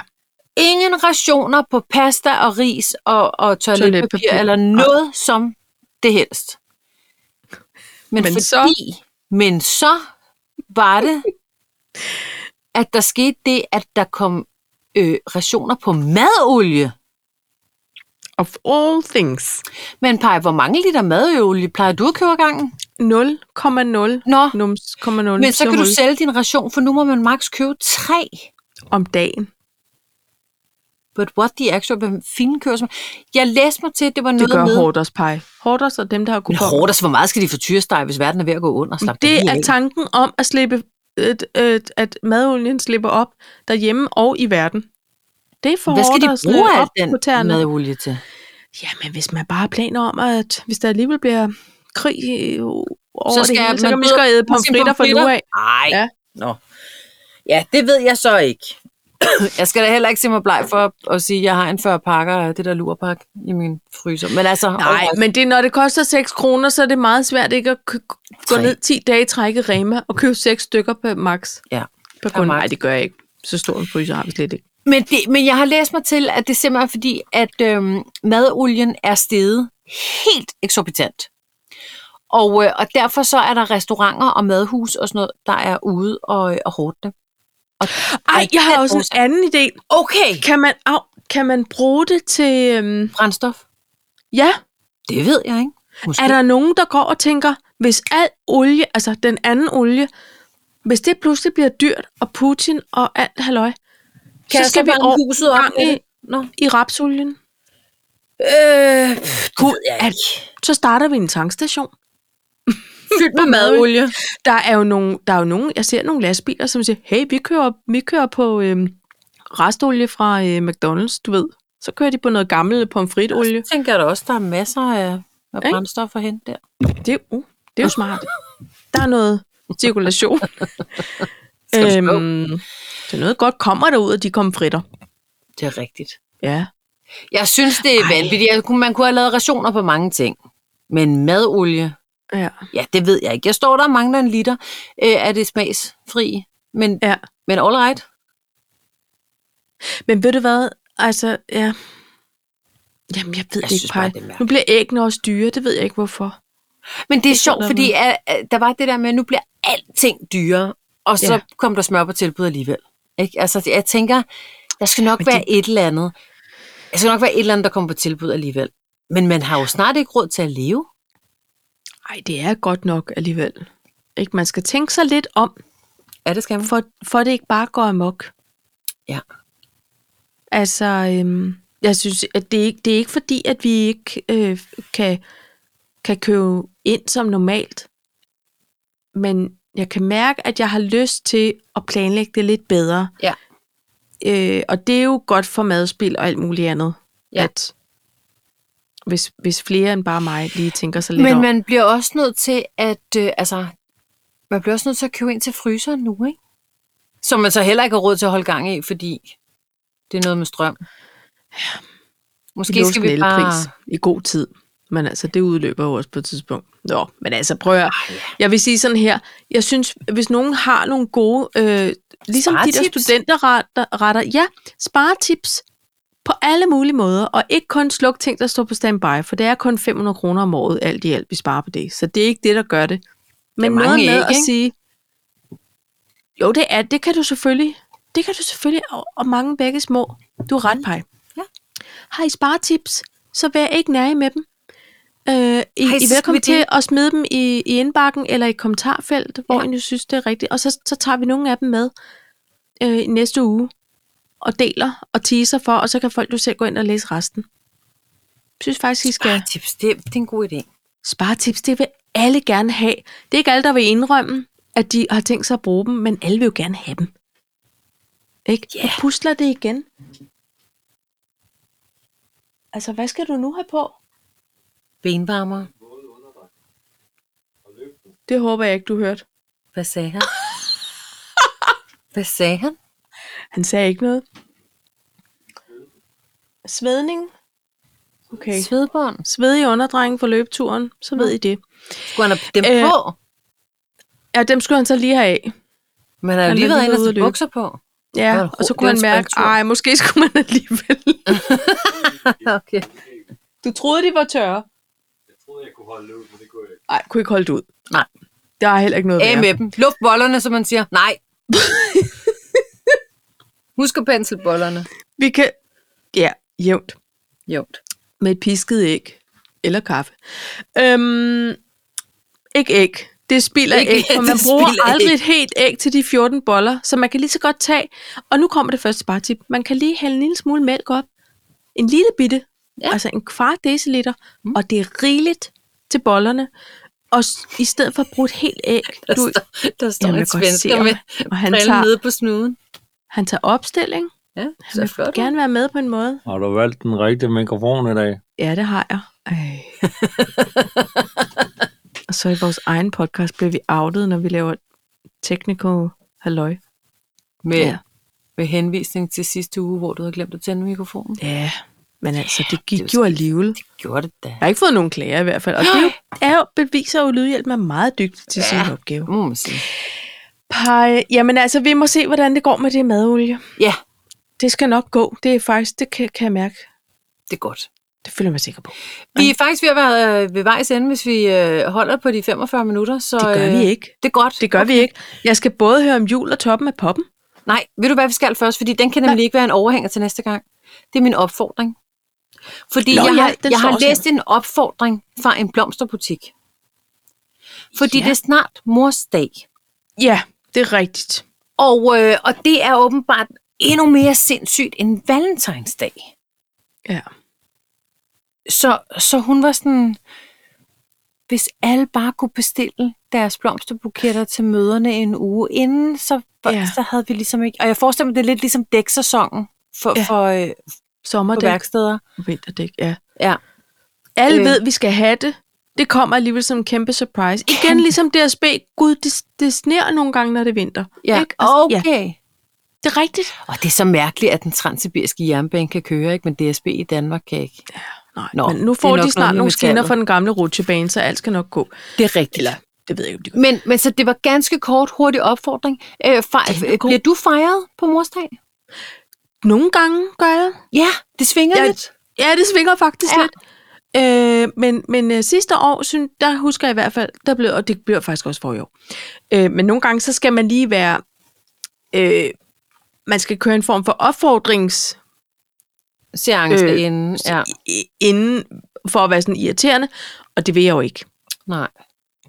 Speaker 2: Ingen rationer på pasta og ris og, og toiletpapir,
Speaker 1: Toiletpapir.
Speaker 2: eller noget som det helst. Men, men
Speaker 1: Men
Speaker 2: fordi,
Speaker 1: så-
Speaker 2: så... men så var det, at der skete det, at der kom øh, rationer på madolie.
Speaker 1: Of all things.
Speaker 2: Men Paj, hvor mange liter madolie plejer du at købe ad gangen?
Speaker 1: 0,0
Speaker 2: Nå,
Speaker 1: nums, 0,0
Speaker 2: men så kan du
Speaker 1: nul
Speaker 2: sælge din ration, for nu må man maks købe tre.
Speaker 1: om dagen.
Speaker 2: But what the actual, hvad fanden kører som... Jeg læste mig til, at det var noget
Speaker 1: Det gør
Speaker 2: med...
Speaker 1: Hordas pej. Hordas og dem, der har
Speaker 2: Men
Speaker 1: kunne
Speaker 2: hårdt, altså, hvor meget skal de få tyresteg, hvis verden er ved at gå under? Slap
Speaker 1: Det
Speaker 2: lige
Speaker 1: er
Speaker 2: af.
Speaker 1: tanken om at slippe, at, at, at madolien slipper op derhjemme og i verden. Det er for
Speaker 2: Hvad skal
Speaker 1: hårdt
Speaker 2: de
Speaker 1: at slippe
Speaker 2: bruge
Speaker 1: op
Speaker 2: al
Speaker 1: på
Speaker 2: den
Speaker 1: tæerne.
Speaker 2: madolie til?
Speaker 1: Jamen, hvis man bare har planer om, at hvis der alligevel bliver krig i- over
Speaker 2: Så
Speaker 1: så
Speaker 2: skal
Speaker 1: det hele, så
Speaker 2: man
Speaker 1: kan man
Speaker 2: ud
Speaker 1: skal
Speaker 2: og
Speaker 1: æde
Speaker 2: spise
Speaker 1: pomfritter fra nu
Speaker 2: pomfritter.
Speaker 1: af.
Speaker 2: Nej.
Speaker 1: Ja.
Speaker 2: Nå. Ja, det ved jeg så ikke. jeg skal da heller ikke se mig bleg for at- at sige, at jeg har en 40 pakker af det der lurpak i min fryser. Men altså,
Speaker 1: Nej,
Speaker 2: overraskende.
Speaker 1: men det, når det koster 6 kroner, så er det meget svært ikke at kø- gå
Speaker 2: Tre.
Speaker 1: ned 10 dage i træk i Rema og købe 6 stykker på max.
Speaker 2: Ja,
Speaker 1: På
Speaker 2: per
Speaker 1: kun.
Speaker 2: max.
Speaker 1: Nej, det gør jeg ikke. Så stor en fryser har vi slet ikke.
Speaker 2: Men, det, men jeg har læst mig til, at det er simpelthen fordi, at øhm, madolien er steget helt eksorbitant. Og, øh, og derfor så er der restauranter og madhus og sådan noget, der er ude og, øh, og hårdt det.
Speaker 1: Ej, jeg har også en anden idé.
Speaker 2: Okay.
Speaker 1: Kan man, au, kan man bruge det til... Øhm,
Speaker 2: Brændstof.
Speaker 1: ja,
Speaker 2: Det ved jeg ikke. Måske.
Speaker 1: er der nogen, der går og tænker, hvis al olie, altså den anden olie, hvis det pludselig bliver dyrt, og Putin og alt halløj,
Speaker 2: kan
Speaker 1: så skal vi over
Speaker 2: huset
Speaker 1: op
Speaker 2: op
Speaker 1: med
Speaker 2: i...
Speaker 1: det? i rapsolien,
Speaker 2: Øh, gud, jeg ikke.
Speaker 1: så starter vi en tankstation.
Speaker 2: Fyldt med
Speaker 1: madolie. Der er jo nogen, der er jo nogen, jeg ser nogle lastbiler, som siger, hey, vi kører, vi kører på øhm, restolie fra øh, McDonald's, du ved. Så kører de på noget gammel pomfritolie.
Speaker 2: Så tænker jeg da også, der er masser af, af
Speaker 1: Ikke?
Speaker 2: brændstof at hente der.
Speaker 1: Det, uh, det er jo smart. Der er noget cirkulation.
Speaker 2: Skal du slå?
Speaker 1: så noget godt kommer der ud af de komfritter.
Speaker 2: Det er rigtigt.
Speaker 1: Ja.
Speaker 2: Jeg synes, det er
Speaker 1: Ej.
Speaker 2: vanvittigt. Jeg kunne, man kunne have lavet rationer på mange ting. Men madolie,
Speaker 1: ja.
Speaker 2: ja, det ved jeg ikke. Jeg står der og mangler en liter øh, af det smagsfri. Men,
Speaker 1: Ja.
Speaker 2: men all right.
Speaker 1: Men ved du hvad? Altså, ja. Jamen, jeg ved
Speaker 2: Jeg
Speaker 1: jeg ikke,
Speaker 2: synes bare,
Speaker 1: Paj.
Speaker 2: det er mærkeligt.
Speaker 1: Nu bliver æggene også dyre, det ved jeg ikke hvorfor.
Speaker 2: Men det er
Speaker 1: Det står
Speaker 2: sjovt,
Speaker 1: der
Speaker 2: fordi at, at der var det der med, at nu bliver alting dyrere, og så
Speaker 1: Ja.
Speaker 2: kom der smør på tilbud alligevel. Ikke? Altså, jeg tænker, der skal nok
Speaker 1: Men
Speaker 2: være et eller andet. Der skal nok være et eller andet, der kommer på tilbud alligevel. Men man har jo snart ikke råd til at leve.
Speaker 1: Ej, det er godt nok alligevel. Ikke? Man skal tænke sig lidt om,
Speaker 2: Ja, det skal man.
Speaker 1: for, for det ikke bare går amok.
Speaker 2: Ja.
Speaker 1: Altså, øhm, jeg synes, at det, er ikke, det er ikke fordi, at vi ikke øh, kan, kan købe ind som normalt. Men jeg kan mærke, at jeg har lyst til at planlægge det lidt bedre.
Speaker 2: Ja.
Speaker 1: Øh, og det er jo godt for madspil og alt muligt andet.
Speaker 2: Ja.
Speaker 1: At, hvis, hvis flere end bare mig lige tænker sig lidt
Speaker 2: Men
Speaker 1: om.
Speaker 2: man bliver også nødt til at, øh, altså, man bliver også nødt til at købe ind til fryseren nu, ikke? Som man så heller ikke har råd til at holde gang i, fordi det er noget med strøm. Måske
Speaker 1: Låse
Speaker 2: skal
Speaker 1: en
Speaker 2: vi bare...
Speaker 1: elpris i god tid. Men altså, det udløber jo også på et tidspunkt. Nå, men altså, prøv at,
Speaker 2: Ah,
Speaker 1: Jeg vil sige sådan her. Jeg synes, hvis nogen har nogle gode, øh, ligesom de der
Speaker 2: Sparetips.
Speaker 1: studenterretter, retter, ja, sparetips på alle mulige måder, og ikke kun sluk ting, der står på standby, for det er kun 500 kroner om året, alt i alt, vi sparer på det. Så det er ikke det, der gør det. Men
Speaker 2: Det er
Speaker 1: noget
Speaker 2: mange
Speaker 1: med
Speaker 2: æg,
Speaker 1: at
Speaker 2: ikke?
Speaker 1: sige, jo, det er, det kan du selvfølgelig, det kan du selvfølgelig, og, og mange begge små. Du er ret, Paj.
Speaker 2: Ja.
Speaker 1: Har I sparetips, så vær ikke nær med dem. Øh, I,
Speaker 2: Hej,
Speaker 1: I
Speaker 2: så
Speaker 1: er
Speaker 2: skal vi
Speaker 1: velkommen til
Speaker 2: dele.
Speaker 1: at smide dem i, i indbakken eller i kommentarfelt, hvor
Speaker 2: Ja.
Speaker 1: ja. I nu synes, det er rigtigt. Og så, så tager vi nogle af dem med øh, i næste uge og deler og teaser for, og så kan folk jo selv gå ind og læse resten. Jeg synes faktisk, I skal...
Speaker 2: Sparetips, det, det er en god idé.
Speaker 1: Sparetips, det vil alle gerne have. Det er ikke alle, der vil indrømme, at de har tænkt sig at bruge dem, men alle vil jo gerne have dem. Ikke?
Speaker 2: Ja.
Speaker 1: Yeah. Og pusler det igen. Altså, hvad skal du nu have på?
Speaker 2: Benvarmer.
Speaker 1: Det håber jeg ikke, du hørte.
Speaker 2: Hvad sagde han? Hvad sagde han?
Speaker 1: Han sagde ikke noget. Svedning. Okay.
Speaker 2: Svedbånd.
Speaker 1: Svedige underdrenge for løbeturen, så ved I det.
Speaker 2: Skulle han have dem
Speaker 1: Øh,
Speaker 2: på?
Speaker 1: Ja, dem skulle han så lige have af.
Speaker 2: Man har jo
Speaker 1: han
Speaker 2: lige
Speaker 1: er
Speaker 2: været
Speaker 1: lige
Speaker 2: inde og
Speaker 1: ude at
Speaker 2: tage
Speaker 1: løbe.
Speaker 2: bukser på. Det var
Speaker 1: Ja,
Speaker 2: en
Speaker 1: og så
Speaker 2: ro-
Speaker 1: kunne
Speaker 2: det
Speaker 1: han
Speaker 2: var en
Speaker 1: mærke,
Speaker 2: springtur.
Speaker 1: ej, måske skulle man alligevel.
Speaker 2: okay.
Speaker 1: Du troede, de var tørre.
Speaker 3: Jeg troede, jeg kunne holde det ud, men det kunne jeg ikke.
Speaker 1: Nej, kunne ikke holde det ud.
Speaker 2: Nej.
Speaker 1: Der er heller ikke noget
Speaker 2: Af med dem. Luft bollerne, som man siger. Nej. Husk at pensle bollerne.
Speaker 1: Vi kan... Ja, jævnt.
Speaker 2: Jovt.
Speaker 1: Med et pisket æg. Eller kaffe. Øhm, ikke æg. Det spilder
Speaker 2: Ikke-
Speaker 1: ikke, æg, for
Speaker 2: det
Speaker 1: man bruger
Speaker 2: spilder
Speaker 1: aldrig
Speaker 2: æg.
Speaker 1: et helt æg til de 14 boller, så man kan lige så godt tage... Og nu kommer det første spartip. Man kan lige hælde en lille smule mælk op. En lille bitte.
Speaker 2: Ja.
Speaker 1: Ja. Altså en kvart deciliter.
Speaker 2: Mm.
Speaker 1: Mm. Og det er rigeligt til bollerne. Og s- i stedet for at bruge et helt æg,
Speaker 2: Der,
Speaker 1: du,
Speaker 2: står, der står
Speaker 1: Jamen,
Speaker 2: en
Speaker 1: jeg kan godt
Speaker 2: svensker
Speaker 1: se ham.
Speaker 2: med
Speaker 1: og han
Speaker 2: brillen
Speaker 1: tager,
Speaker 2: nede på snuden.
Speaker 1: han tager opstilling.
Speaker 2: Ja,
Speaker 1: Han
Speaker 2: så
Speaker 1: vil
Speaker 2: flot.
Speaker 1: gerne være med på en måde.
Speaker 3: Har du valgt den rigtige mikrofon i dag?
Speaker 1: Ja, det har jeg. Ej. og så i vores egen podcast bliver vi outet, når vi laver technical halløj.
Speaker 2: Med,
Speaker 1: Ja.
Speaker 2: med henvisning til sidste uge, hvor du havde glemt at tænde mikrofonen.
Speaker 1: Ja, men altså, det gik
Speaker 2: det er
Speaker 1: det
Speaker 2: jo
Speaker 1: jo alligevel.
Speaker 2: Gjorde det da.
Speaker 1: Jeg har ikke fået nogen klager i hvert fald, og det er jo, er jo beviser jo, at lydhjælp er meget dygtig til
Speaker 2: Ja.
Speaker 1: ja. sin opgave.
Speaker 2: Må man sige.
Speaker 1: Pej, jamen altså, vi må se, hvordan det går med det madolie.
Speaker 2: Ja,
Speaker 1: Det skal nok gå. Det er faktisk, det kan, kan jeg mærke.
Speaker 2: det er godt.
Speaker 1: Det føler jeg mig sikker på.
Speaker 2: Vi er faktisk ved at være øh, ved vejs ende, hvis vi øh, holder på de 45 minutter. Så,
Speaker 1: Det gør vi
Speaker 2: øh,
Speaker 1: ikke.
Speaker 2: Det er godt.
Speaker 1: Det gør okay. vi ikke. Jeg skal både høre om jul og toppen af poppen.
Speaker 2: Nej, ved du hvad vi skal først? Fordi den kan nemlig ikke være en overhænger til næste gang. Det er min opfordring. Fordi
Speaker 1: Nå,
Speaker 2: Nå, jeg,
Speaker 1: ja,
Speaker 2: har,
Speaker 1: den
Speaker 2: jeg
Speaker 1: står
Speaker 2: har
Speaker 1: også
Speaker 2: læst en opfordring fra en blomsterbutik. Fordi ja.
Speaker 1: Ja.
Speaker 2: det er snart mors dag.
Speaker 1: Ja, det er rigtigt.
Speaker 2: Og, øh, og det er åbenbart endnu mere sindssygt end valentinsdag.
Speaker 1: Ja.
Speaker 2: Så, så hun var sådan, hvis alle bare kunne bestille deres blomsterbuketter til møderne en uge inden, så, ja.
Speaker 1: Ja.
Speaker 2: så havde vi ligesom ikke... Og jeg forestiller mig, det er lidt ligesom dæksæsonen for, ja.
Speaker 1: Ja.
Speaker 2: for, øh, på
Speaker 1: Sommerdæk.
Speaker 2: værksteder.
Speaker 1: Vinterdæk, ja.
Speaker 2: Ja.
Speaker 1: Alle
Speaker 2: Øh.
Speaker 1: øh. ved, at vi skal have det. Det kommer alligevel som en kæmpe surprise. Igen
Speaker 2: Kæmpe.
Speaker 1: ligesom DSB. Gud, det, det sner nogle gange, når det er vinter.
Speaker 2: ja.
Speaker 1: Ikke? Altså, ja,
Speaker 2: okay. Ja.
Speaker 1: det er rigtigt.
Speaker 2: Og det er så mærkeligt, at den transsibiriske jernbane kan køre, ikke? men DSB i Danmark kan ikke.
Speaker 1: Nej,
Speaker 2: Nå,
Speaker 1: Nå, men nu
Speaker 2: det er nok
Speaker 1: får de
Speaker 2: noget
Speaker 1: snart
Speaker 2: med
Speaker 1: nogle skinner
Speaker 2: metallet.
Speaker 1: fra den gamle rutsjebane, så alt skal nok gå.
Speaker 2: Det er rigtigt.
Speaker 1: Eller, det ved jeg ikke, om de gør.
Speaker 2: Men, men så det var ganske kort, hurtig opfordring. Øh,
Speaker 1: Den
Speaker 2: fej,
Speaker 1: er god.
Speaker 2: bliver du fejret på morsdag?
Speaker 1: Nogle gange gør jeg.
Speaker 2: Ja, det svinger
Speaker 1: Jeg-
Speaker 2: lidt.
Speaker 1: Ja, det svinger faktisk
Speaker 2: Ja.
Speaker 1: ja. lidt. Øh, men men øh, sidste år, synes, der husker jeg i hvert fald, der blev, og det bliver faktisk også for i år. Øh, men nogle gange, så skal man lige være... Øh, man skal køre en form for opfordrings...
Speaker 2: Seance øh,
Speaker 1: Øh,
Speaker 2: inden. Ja,
Speaker 1: i- inden for at være sådan irriterende, og det vil jeg jo ikke.
Speaker 2: nej.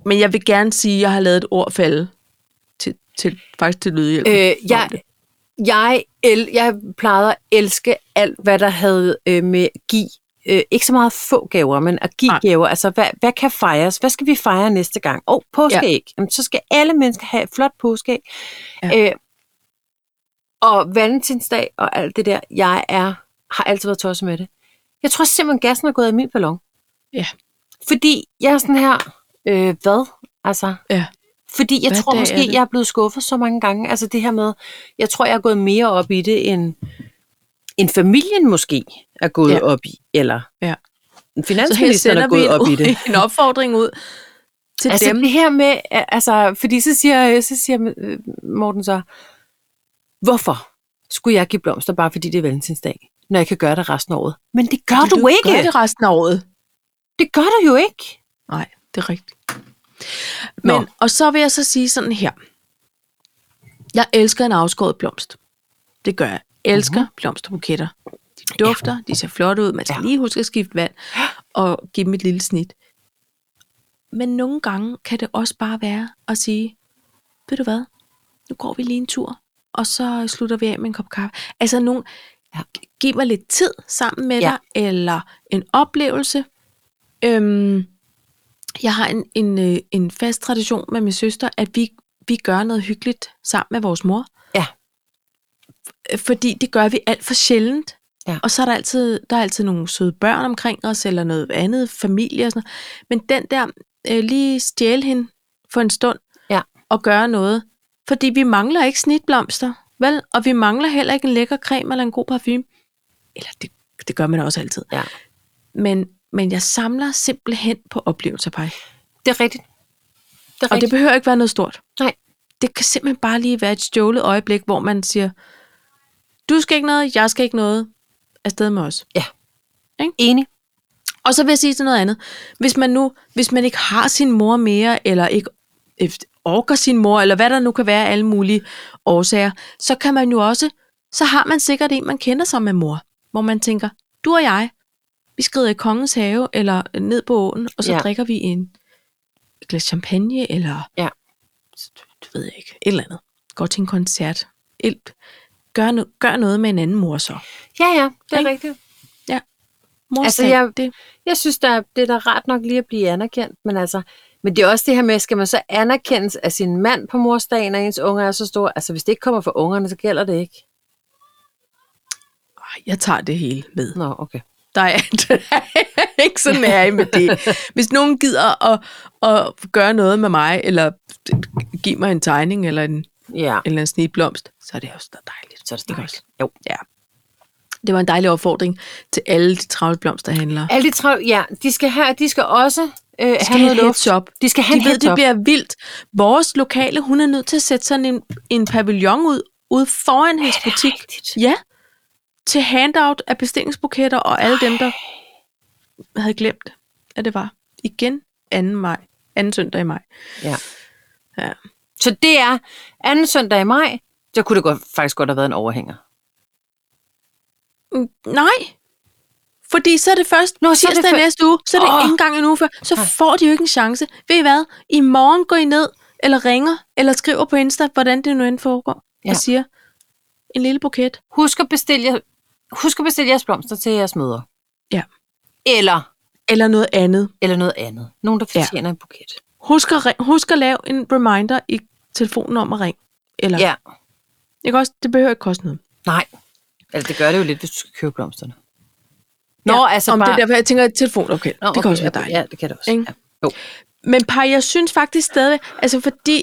Speaker 1: Men jeg vil gerne sige, at jeg har lavet et ord falde til, til, faktisk til lydhjælp.
Speaker 2: Øh, jeg, jeg, el, jeg plejede at elske alt, hvad der havde øh, med at give. Øh, ikke så meget få gaver, men at give Nej.
Speaker 1: Nej.
Speaker 2: gaver. Altså, hvad, hvad kan fejres? Hvad skal vi fejre næste gang? Åh, oh, påskeæg. Ja. Jamen, så skal alle mennesker have et flot påskeæg. Ja.
Speaker 1: Ja.
Speaker 2: Øh, og valentinsdag og alt det der. Jeg er har altid været tosset med det. Jeg tror simpelthen, gassen er gået af min ballon.
Speaker 1: Ja.
Speaker 2: Fordi jeg er sådan her, øh, hvad? Altså,
Speaker 1: Ja.
Speaker 2: Fordi jeg
Speaker 1: Hvad
Speaker 2: tror
Speaker 1: dag er
Speaker 2: måske,
Speaker 1: det?
Speaker 2: jeg er blevet skuffet så mange gange. Altså det her med, jeg tror, jeg er gået mere op i det, end, end familien måske er gået
Speaker 1: Ja.
Speaker 2: ja. op i. Eller
Speaker 1: Ja. Så her
Speaker 2: finansministeren er
Speaker 1: sender
Speaker 2: gået op
Speaker 1: vi
Speaker 2: i
Speaker 1: en,
Speaker 2: det.
Speaker 1: en opfordring ud til
Speaker 2: Altså
Speaker 1: altså, dem.
Speaker 2: det her med, a- altså, fordi så siger, øh, så siger øh, Morten så, hvorfor skulle jeg give blomster bare fordi det er valentinsdag, når jeg kan gøre det resten af året? Men det gør du, du ikke.
Speaker 1: Gør
Speaker 2: det.
Speaker 1: det resten af året.
Speaker 2: det gør du jo ikke.
Speaker 1: Nej, det er rigtigt.
Speaker 2: Nå.
Speaker 1: Men, og så vil jeg så sige sådan her. Jeg elsker en afskåret blomst. Det gør jeg. Elsker mm-hmm. blomsterbuketter. De dufter, ja. de ser flotte ud. Man skal
Speaker 2: Ja.
Speaker 1: ja. lige huske at skifte vand og give dem et lille snit. Men nogle gange kan det også bare være at sige, ved du hvad, nu går vi lige en tur, og så slutter vi af med en kop kaffe. Altså, nogen,
Speaker 2: Ja.
Speaker 1: ja. giv mig lidt tid sammen med
Speaker 2: Ja.
Speaker 1: ja. dig, eller en oplevelse. Øhm, jeg har en, en, øh, en fast tradition med min søster, at vi, vi gør noget hyggeligt sammen med vores mor.
Speaker 2: Ja.
Speaker 1: F- Fordi det gør vi alt for sjældent.
Speaker 2: Ja.
Speaker 1: Og så er der altid, der er altid nogle søde børn omkring os, eller noget andet, familie og sådan noget. Men den der, øh, lige stjæle hende for en stund,
Speaker 2: Ja.
Speaker 1: og gøre noget. Fordi vi mangler ikke snitblomster, vel? Og vi mangler heller ikke en lækker creme eller en god parfume. Eller det, det gør man også altid.
Speaker 2: Ja.
Speaker 1: Men, men jeg samler simpelthen på oplevelser, Paj.
Speaker 2: Det er rigtigt. Det er
Speaker 1: Og det
Speaker 2: rigtigt.
Speaker 1: behøver ikke være noget stort.
Speaker 2: Nej.
Speaker 1: Det kan simpelthen bare lige være et stjålet øjeblik, hvor man siger, du skal ikke noget, jeg skal ikke noget, afsted med os.
Speaker 2: Enig.
Speaker 1: Og så vil jeg sige til noget andet. Hvis man nu, hvis man ikke har sin mor mere, eller ikke øh, orker sin mor, eller hvad der nu kan være af alle mulige årsager, så kan man jo også, så har man sikkert en, man kender som med mor, hvor man tænker, du og jeg, vi skrider i kongens have, eller ned på åen, og så
Speaker 2: Ja.
Speaker 1: ja. drikker vi en et glas champagne, eller
Speaker 2: Ja.
Speaker 1: det ved jeg ikke, et eller andet. Går til en koncert. Et, gør, no, gør noget med en anden mor så.
Speaker 2: Ja, ja, det er
Speaker 1: Ikke?
Speaker 2: rigtigt.
Speaker 1: Mor
Speaker 2: Altså,
Speaker 1: altså, jeg,
Speaker 2: jeg-
Speaker 1: det,
Speaker 2: Jeg synes, der er, det er da rart nok lige at blive anerkendt, men altså, men det er også det her med, skal man så anerkendes af sin mand på morsdagen, og ens unger er så store? Altså, hvis det ikke kommer fra ungerne, så gælder det ikke.
Speaker 1: Ej, jeg tager det hele med.
Speaker 2: Nå, okay.
Speaker 1: Der er, der er ikke sådan er jeg med det. Hvis nogen gider at, at gøre noget med mig, eller give mig en tegning eller en,
Speaker 2: Ja,
Speaker 1: eller en snitblomst, så er det også da dejligt.
Speaker 2: så er det
Speaker 1: Ikke
Speaker 2: dejligt.
Speaker 1: også?
Speaker 2: Jo.
Speaker 1: Det var en dejlig opfordring til alle de travle blomsterhandlere.
Speaker 2: Alle de travle, ja, de skal, have, de skal også øh,
Speaker 1: Skal
Speaker 2: have
Speaker 1: have
Speaker 2: noget
Speaker 1: et
Speaker 2: luft.
Speaker 1: heads up.
Speaker 2: De skal have
Speaker 1: De
Speaker 2: en
Speaker 1: ved,
Speaker 2: heads
Speaker 1: det
Speaker 2: up.
Speaker 1: bliver vildt. Vores lokale, hun er nødt til at sætte sådan en, en pavillon ud, ude foran hendes butik.
Speaker 2: rigtigt?
Speaker 1: Ja, til handout af bestillingsbuketter og alle dem, der havde glemt, at det var igen 2. maj. Anden søndag i maj.
Speaker 2: Ja.
Speaker 1: Ja.
Speaker 2: Så det er anden søndag i maj, så kunne det godt, faktisk godt have været en overhænger.
Speaker 1: Mm, Nej, fordi så er det først
Speaker 2: Nå,
Speaker 1: Nå,
Speaker 2: så er det
Speaker 1: tirsdag
Speaker 2: før-
Speaker 1: i næste uge, så er det
Speaker 2: Åh.
Speaker 1: oh. ikke engang en uge før, så
Speaker 2: Nej.
Speaker 1: får de jo ikke en chance. Ved I hvad? I morgen går I ned, eller ringer, eller skriver på Insta, hvordan det nu end foregår, ja.
Speaker 2: Ja.
Speaker 1: og siger, en lille buket.
Speaker 2: Husk at bestille, jer- husk at bestille jeres blomster til jeres møder.
Speaker 1: Ja.
Speaker 2: Eller,
Speaker 1: Eller noget andet.
Speaker 2: eller noget andet. Nogen, der
Speaker 1: Ja.
Speaker 2: fortjener ja. en buket.
Speaker 1: Husk at, ring- husk at lave en reminder i telefonen om at ringe. Eller, ja.
Speaker 2: Ja.
Speaker 1: ikke også? Det behøver ikke koste noget.
Speaker 2: Nej. Altså, det gør det jo lidt, hvis du skal købe blomsterne. Nå, ja, altså
Speaker 1: om
Speaker 2: bare...
Speaker 1: det er derfor, jeg tænker, at telefon, okay, Nå, det kan også være dejligt.
Speaker 2: Ja, det kan det også.
Speaker 1: Ikke?
Speaker 2: Ja. Jo.
Speaker 1: Men par, jeg synes faktisk stadig, altså fordi,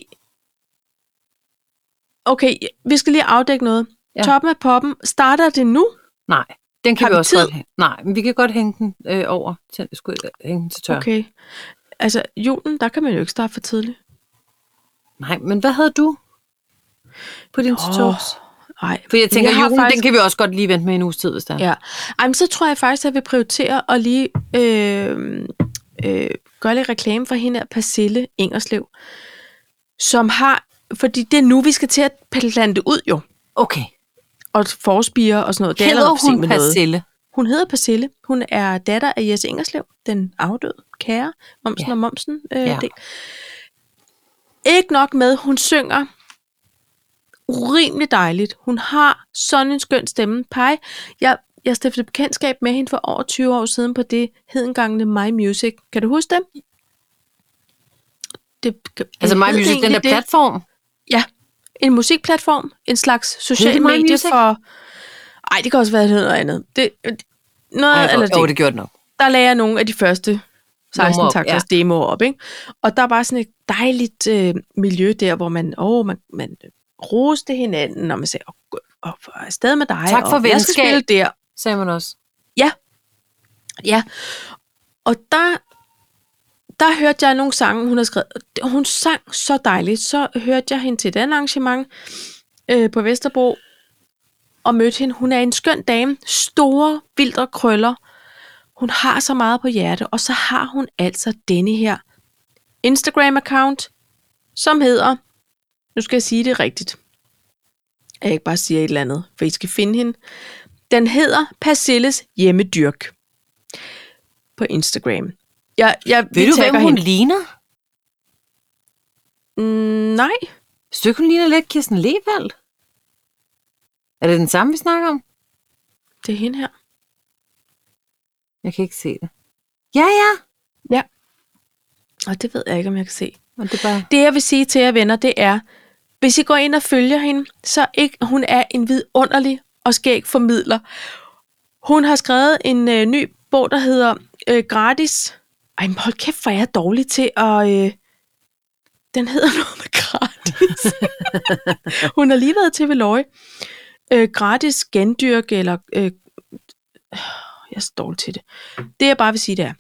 Speaker 1: okay, vi skal lige afdække noget.
Speaker 2: Ja.
Speaker 1: Ja. Toppen af poppen, starter det nu?
Speaker 2: Nej, den kan
Speaker 1: Har
Speaker 2: vi,
Speaker 1: vi
Speaker 2: også
Speaker 1: tid?
Speaker 2: godt hænge. Nej, men vi kan godt hænge den øh, over til, sku, hænge den til tør. Okay.
Speaker 1: Okay. Altså, julen, der kan man jo ikke starte for tidligt.
Speaker 2: Nej, men hvad havde du på din til tørs?
Speaker 1: nej.
Speaker 2: For jeg tænker,
Speaker 1: jeg har
Speaker 2: julen, faktisk... den
Speaker 1: faktisk-
Speaker 2: kan vi også godt lige vente med en uges tid, hvis der.
Speaker 1: Ja. Ej, men så tror jeg faktisk, at jeg vil prioritere at lige øh, øh, gøre lidt reklame for hende her, Persille Ingerslev, som har, fordi det er nu, vi skal til at plante ud jo,
Speaker 2: Okay.
Speaker 1: og forspire og sådan noget. Det er
Speaker 2: Hedder
Speaker 1: allerede for
Speaker 2: hun
Speaker 1: sent med noget.
Speaker 2: Persille?
Speaker 1: Hun hedder Persille. Hun er datter af Jesse Ingerslev, den afdøde kære, Momsen
Speaker 2: Ja.
Speaker 1: ja. og Momsen. Øh,
Speaker 2: Ja.
Speaker 1: ja. det. Ikke nok med, hun synger urimelig dejligt. Hun har sådan en skøn stemme. Pej, jeg, jeg stiftede bekendtskab med hende for over 20 år siden på det hedengangne My Music. Kan du huske dem? Det, hed
Speaker 2: Altså My
Speaker 1: det
Speaker 2: Music, den
Speaker 1: egentlig
Speaker 2: der
Speaker 1: det?
Speaker 2: platform.
Speaker 1: Ja, en musikplatform, en slags
Speaker 2: Hed
Speaker 1: social
Speaker 2: det My
Speaker 1: medie
Speaker 2: Music?
Speaker 1: for... Ej, det kan også være det hedder noget andet. Det, noget,
Speaker 2: Ej,
Speaker 1: Ej, eller
Speaker 2: jo,
Speaker 1: det,
Speaker 2: det gjorde den nok.
Speaker 1: der lagde jeg nogle af de første 16
Speaker 2: Numre op,
Speaker 1: takters ja. demoer op, ikke? Og der var sådan et dejligt øh, miljø der, hvor man, åh, man, man roste hinanden, og man sagde, og, og, og afsted med dig,
Speaker 2: Tak for
Speaker 1: og jeg skal
Speaker 2: venskab.
Speaker 1: spille der,
Speaker 2: Sagde man også.
Speaker 1: Ja. Og der, der hørte jeg nogle sange, hun havde skrevet. Hun sang så dejligt. Så hørte jeg hende til et andet arrangement øh, på Vesterbro og mødte hende. Hun er en skøn dame. Store, vildre krøller. Hun har så meget på hjerte. Og så har hun altså denne her Instagram-account, som hedder... Nu skal jeg sige det rigtigt. At Jeg ikke bare siger et eller andet, for I skal finde hende. Den hedder Persilles hjemmedyrk på Instagram. Jeg, jeg,
Speaker 2: Ved
Speaker 1: vi
Speaker 2: du, hvem
Speaker 1: tagger
Speaker 2: hun
Speaker 1: hende.
Speaker 2: ligner?
Speaker 1: Mm, nej.
Speaker 2: Synes hun ligner lidt Kirsten Levald? Er det den samme, vi snakker om?
Speaker 1: Det er hende her.
Speaker 2: Jeg kan ikke se det. Ja, ja.
Speaker 1: Og det ved jeg ikke, om jeg kan se.
Speaker 2: Og det er bare...
Speaker 1: Det, jeg vil sige til jer venner, det er, hvis I går ind og følger hende, så ikke, hun er en vidunderlig og skæg formidler. Hun har skrevet en øh, ny bog, der hedder øh, Gratis. Ej, men hold kæft, hvor er jeg dårlig til at... Øh, den hedder noget med gratis. hun har lige været til Veloy. Øh, gratis gendyrk, eller... Øh, jeg er så dårlig til det. Det, jeg bare vil sige, det er,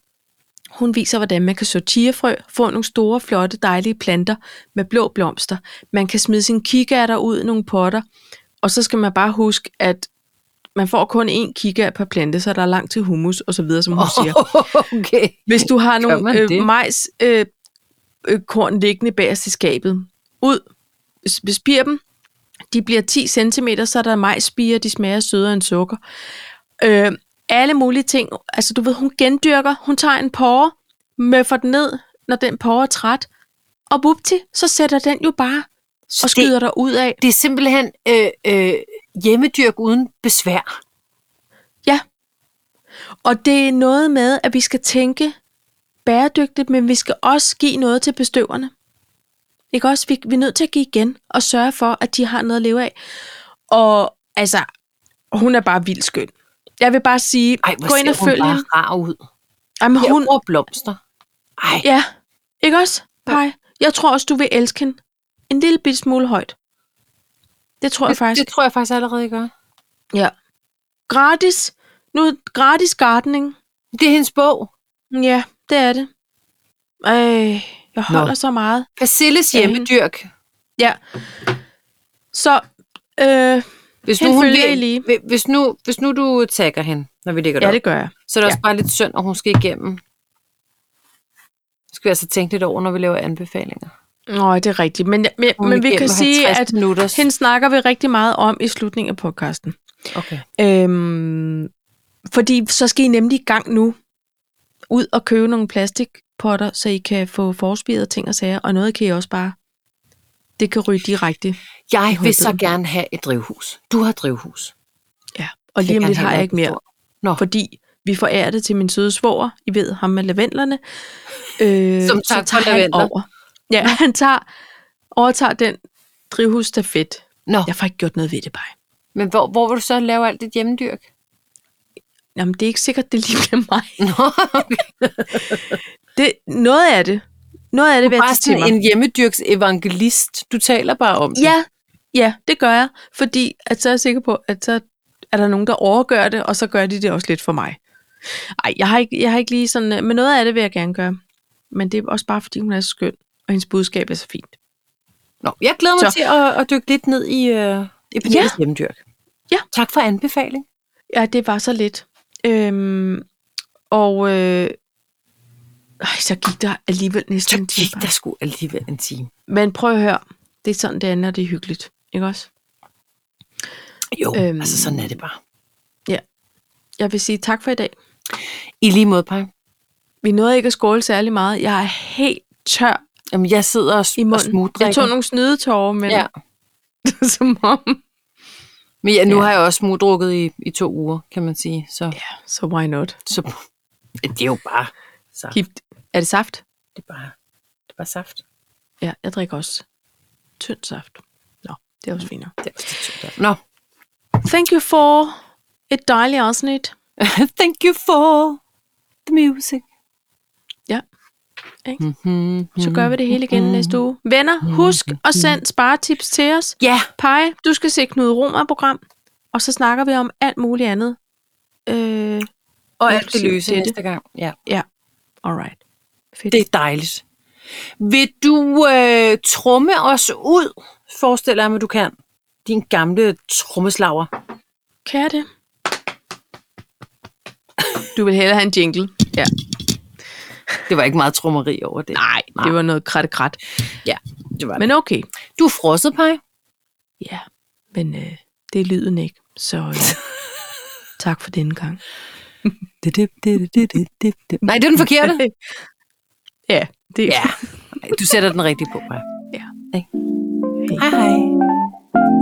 Speaker 1: hun viser, hvordan man kan så tigerfrø, få nogle store, flotte, dejlige planter med blå blomster. Man kan smide sine kikærter ud i nogle potter, og så skal man bare huske, at man får kun én kikært per plante, så der er langt til humus og så videre, som hun oh. siger.
Speaker 2: okay.
Speaker 1: Hvis du har
Speaker 2: man
Speaker 1: nogle
Speaker 2: det?
Speaker 1: øh, majs, øh, øh, korn liggende bagerst i skabet, ud, s- bespir dem, de bliver 10 cm, så er der majsbier, de smager sødere end sukker. Øh, alle mulige ting. Altså, du ved, hun gendyrker, hun tager en porre, møffer den ned, når den porre er træt, og bupti, så sætter den jo bare og skyder dig ud af.
Speaker 2: Det er simpelthen øh, øh, hjemmedyrk uden besvær.
Speaker 1: Og det er noget med, at vi skal tænke bæredygtigt, men vi skal også give noget til bestøverne. Ikke også? Vi, vi er nødt til at give igen og sørge for, at de har noget at leve af. Og altså, hun er bare vildt skøn. Jeg vil bare sige,
Speaker 2: Ej, hvor
Speaker 1: gå ind og
Speaker 2: ser hun
Speaker 1: følg
Speaker 2: bare
Speaker 1: hende.
Speaker 2: rar ud.
Speaker 1: Jamen,
Speaker 2: Hun
Speaker 1: hun,
Speaker 2: bruger blomster. Ej,
Speaker 1: ja, ikke også, Paj? Jeg tror også, du vil elske hende. En lille bit smule højt. Det tror jeg
Speaker 2: det,
Speaker 1: faktisk.
Speaker 2: det tror jeg faktisk allerede, jeg gør.
Speaker 1: Ja. Gratis. Nu gratis gardening.
Speaker 2: Det er hendes bog.
Speaker 1: Ja, det er det. Ej, jeg
Speaker 2: Nå.
Speaker 1: holder Nå. så meget.
Speaker 2: Persilles
Speaker 1: Ja,
Speaker 2: hjemmedyrk.
Speaker 1: Ja. Så, øh,
Speaker 2: Hvis
Speaker 1: Hende
Speaker 2: nu, hun
Speaker 1: følger
Speaker 2: vil,
Speaker 1: I lige.
Speaker 2: hvi- hvis, nu, hvis nu du tagger hende, når vi ligger
Speaker 1: ja,
Speaker 2: der,
Speaker 1: det gør jeg.
Speaker 2: så er det
Speaker 1: ja.
Speaker 2: også bare lidt synd, at hun skal igennem. Det skal vi altså tænke lidt over, når vi laver anbefalinger.
Speaker 1: Nå, det er rigtigt. Men, men,
Speaker 2: Hun er
Speaker 1: men vi
Speaker 2: igennem
Speaker 1: kan sige,
Speaker 2: 50
Speaker 1: at
Speaker 2: minutters-
Speaker 1: hende snakker vi rigtig meget om i slutningen af podcasten.
Speaker 2: Okay.
Speaker 1: Øhm, fordi så skal I nemlig i gang nu ud og købe nogle plastikpotter, så I kan få forspiret ting og sager, og noget kan I også bare, det kan ryge direkte.
Speaker 2: Jeg
Speaker 1: håber
Speaker 2: vil så
Speaker 1: det.
Speaker 2: gerne have et drivhus. Du har drivhus.
Speaker 1: Ja. Og lige om lidt har jeg ikke mere.
Speaker 2: Nå,
Speaker 1: fordi vi forærer det til min søde svoger, I ved, ham med lavendlerne. Øh,
Speaker 2: Som tak for lavendler.
Speaker 1: over. Ja, han tager, overtager den drivhusstafet.
Speaker 2: Nå.
Speaker 1: Jeg får ikke gjort noget ved det bare.
Speaker 2: men hvor, hvor vil du så lave alt dit hjemmedyrk?
Speaker 1: Jamen, det er ikke sikkert, det lige bliver mig.
Speaker 2: Nå, okay.
Speaker 1: Det, noget af det. Noget af det
Speaker 2: Du
Speaker 1: vil
Speaker 2: er
Speaker 1: jeg tage
Speaker 2: bare
Speaker 1: til
Speaker 2: sådan
Speaker 1: mig.
Speaker 2: en hjemmedyrks evangelist. Du taler bare om det.
Speaker 1: Ja, ja, det gør jeg. Fordi at så er jeg sikker på, at så er der nogen, der overgør det, og så gør de det også lidt for mig. Ej, jeg har ikke, jeg har ikke lige sådan... øh, Men noget af det vil jeg gerne gøre. Men det er også bare, fordi hun er så skøn, og hendes budskab er så fint.
Speaker 2: Nå, jeg glæder mig
Speaker 1: Så.
Speaker 2: til at, at dykke lidt ned i, øh, i Pernilles ja. hjemmedyrk.
Speaker 1: Ja.
Speaker 2: Tak for anbefaling.
Speaker 1: Ja, det var så lidt. Øhm, og øh, ej, så gik der alligevel
Speaker 2: Så
Speaker 1: næsten en time.
Speaker 2: gik der sgu alligevel en time.
Speaker 1: Men prøv at høre, det er sådan, det er, når det er hyggeligt. Ikke også?
Speaker 2: Jo,
Speaker 1: Øhm.
Speaker 2: øhm. altså sådan er det bare.
Speaker 1: Jeg vil sige tak for i dag.
Speaker 2: I lige måde, Paj.
Speaker 1: Vi nåede ikke at skåle særlig meget. Jeg er helt tør
Speaker 2: Jamen, jeg sidder og,
Speaker 1: i
Speaker 2: I og
Speaker 1: munden. Jeg
Speaker 2: smugdrikker.
Speaker 1: tog nogle snydetårer, men
Speaker 2: Ja.
Speaker 1: ja. som om...
Speaker 2: Men ja, nu
Speaker 1: Ja.
Speaker 2: har jeg også smugdrukket i, i to uger, kan man sige. Så,
Speaker 1: Ja, så why not?
Speaker 2: så det er jo bare saft.
Speaker 1: Keep, er det saft?
Speaker 2: Det er bare, det er bare saft.
Speaker 1: Ja, jeg drikker også tynd saft. Nå,
Speaker 2: Mm.
Speaker 1: det er også finere.
Speaker 2: Det er også det, der- Nå,
Speaker 1: Thank you for et dejligt afsnit.
Speaker 2: Thank you for the music.
Speaker 1: Ja. Ikke?
Speaker 2: Mm-hmm.
Speaker 1: Så gør vi det hele igen næste uge. Venner, husk at sende sparetips til os.
Speaker 2: Ja,
Speaker 1: Pege, du skal se Knud Romer-program, og så snakker vi om alt muligt andet. Øh,
Speaker 2: og alt det
Speaker 1: Inklusive
Speaker 2: løse
Speaker 1: dette.
Speaker 2: næste gang. Ja.
Speaker 1: alright. Fedt.
Speaker 2: Det er dejligt. Vil du øh, trumme os ud, forestiller jeg mig, du kan. Din gamle trommeslager.
Speaker 1: Kan jeg det? Du vil hellere have en jingle. Ja.
Speaker 2: Det var ikke meget trummeri over det.
Speaker 1: Nej, det var noget kratte krat.
Speaker 2: det var
Speaker 1: Men okay.
Speaker 2: Du er frosset, Paj.
Speaker 1: Ja, men øh, det er lyden ikke. Så øh, tak for denne gang.
Speaker 2: Nej, det er den forkerte.
Speaker 1: Ja, det er
Speaker 2: ja. Nej, Du sætter den rigtige på, Paj.
Speaker 1: Ja.
Speaker 2: Ikke? Hej hej.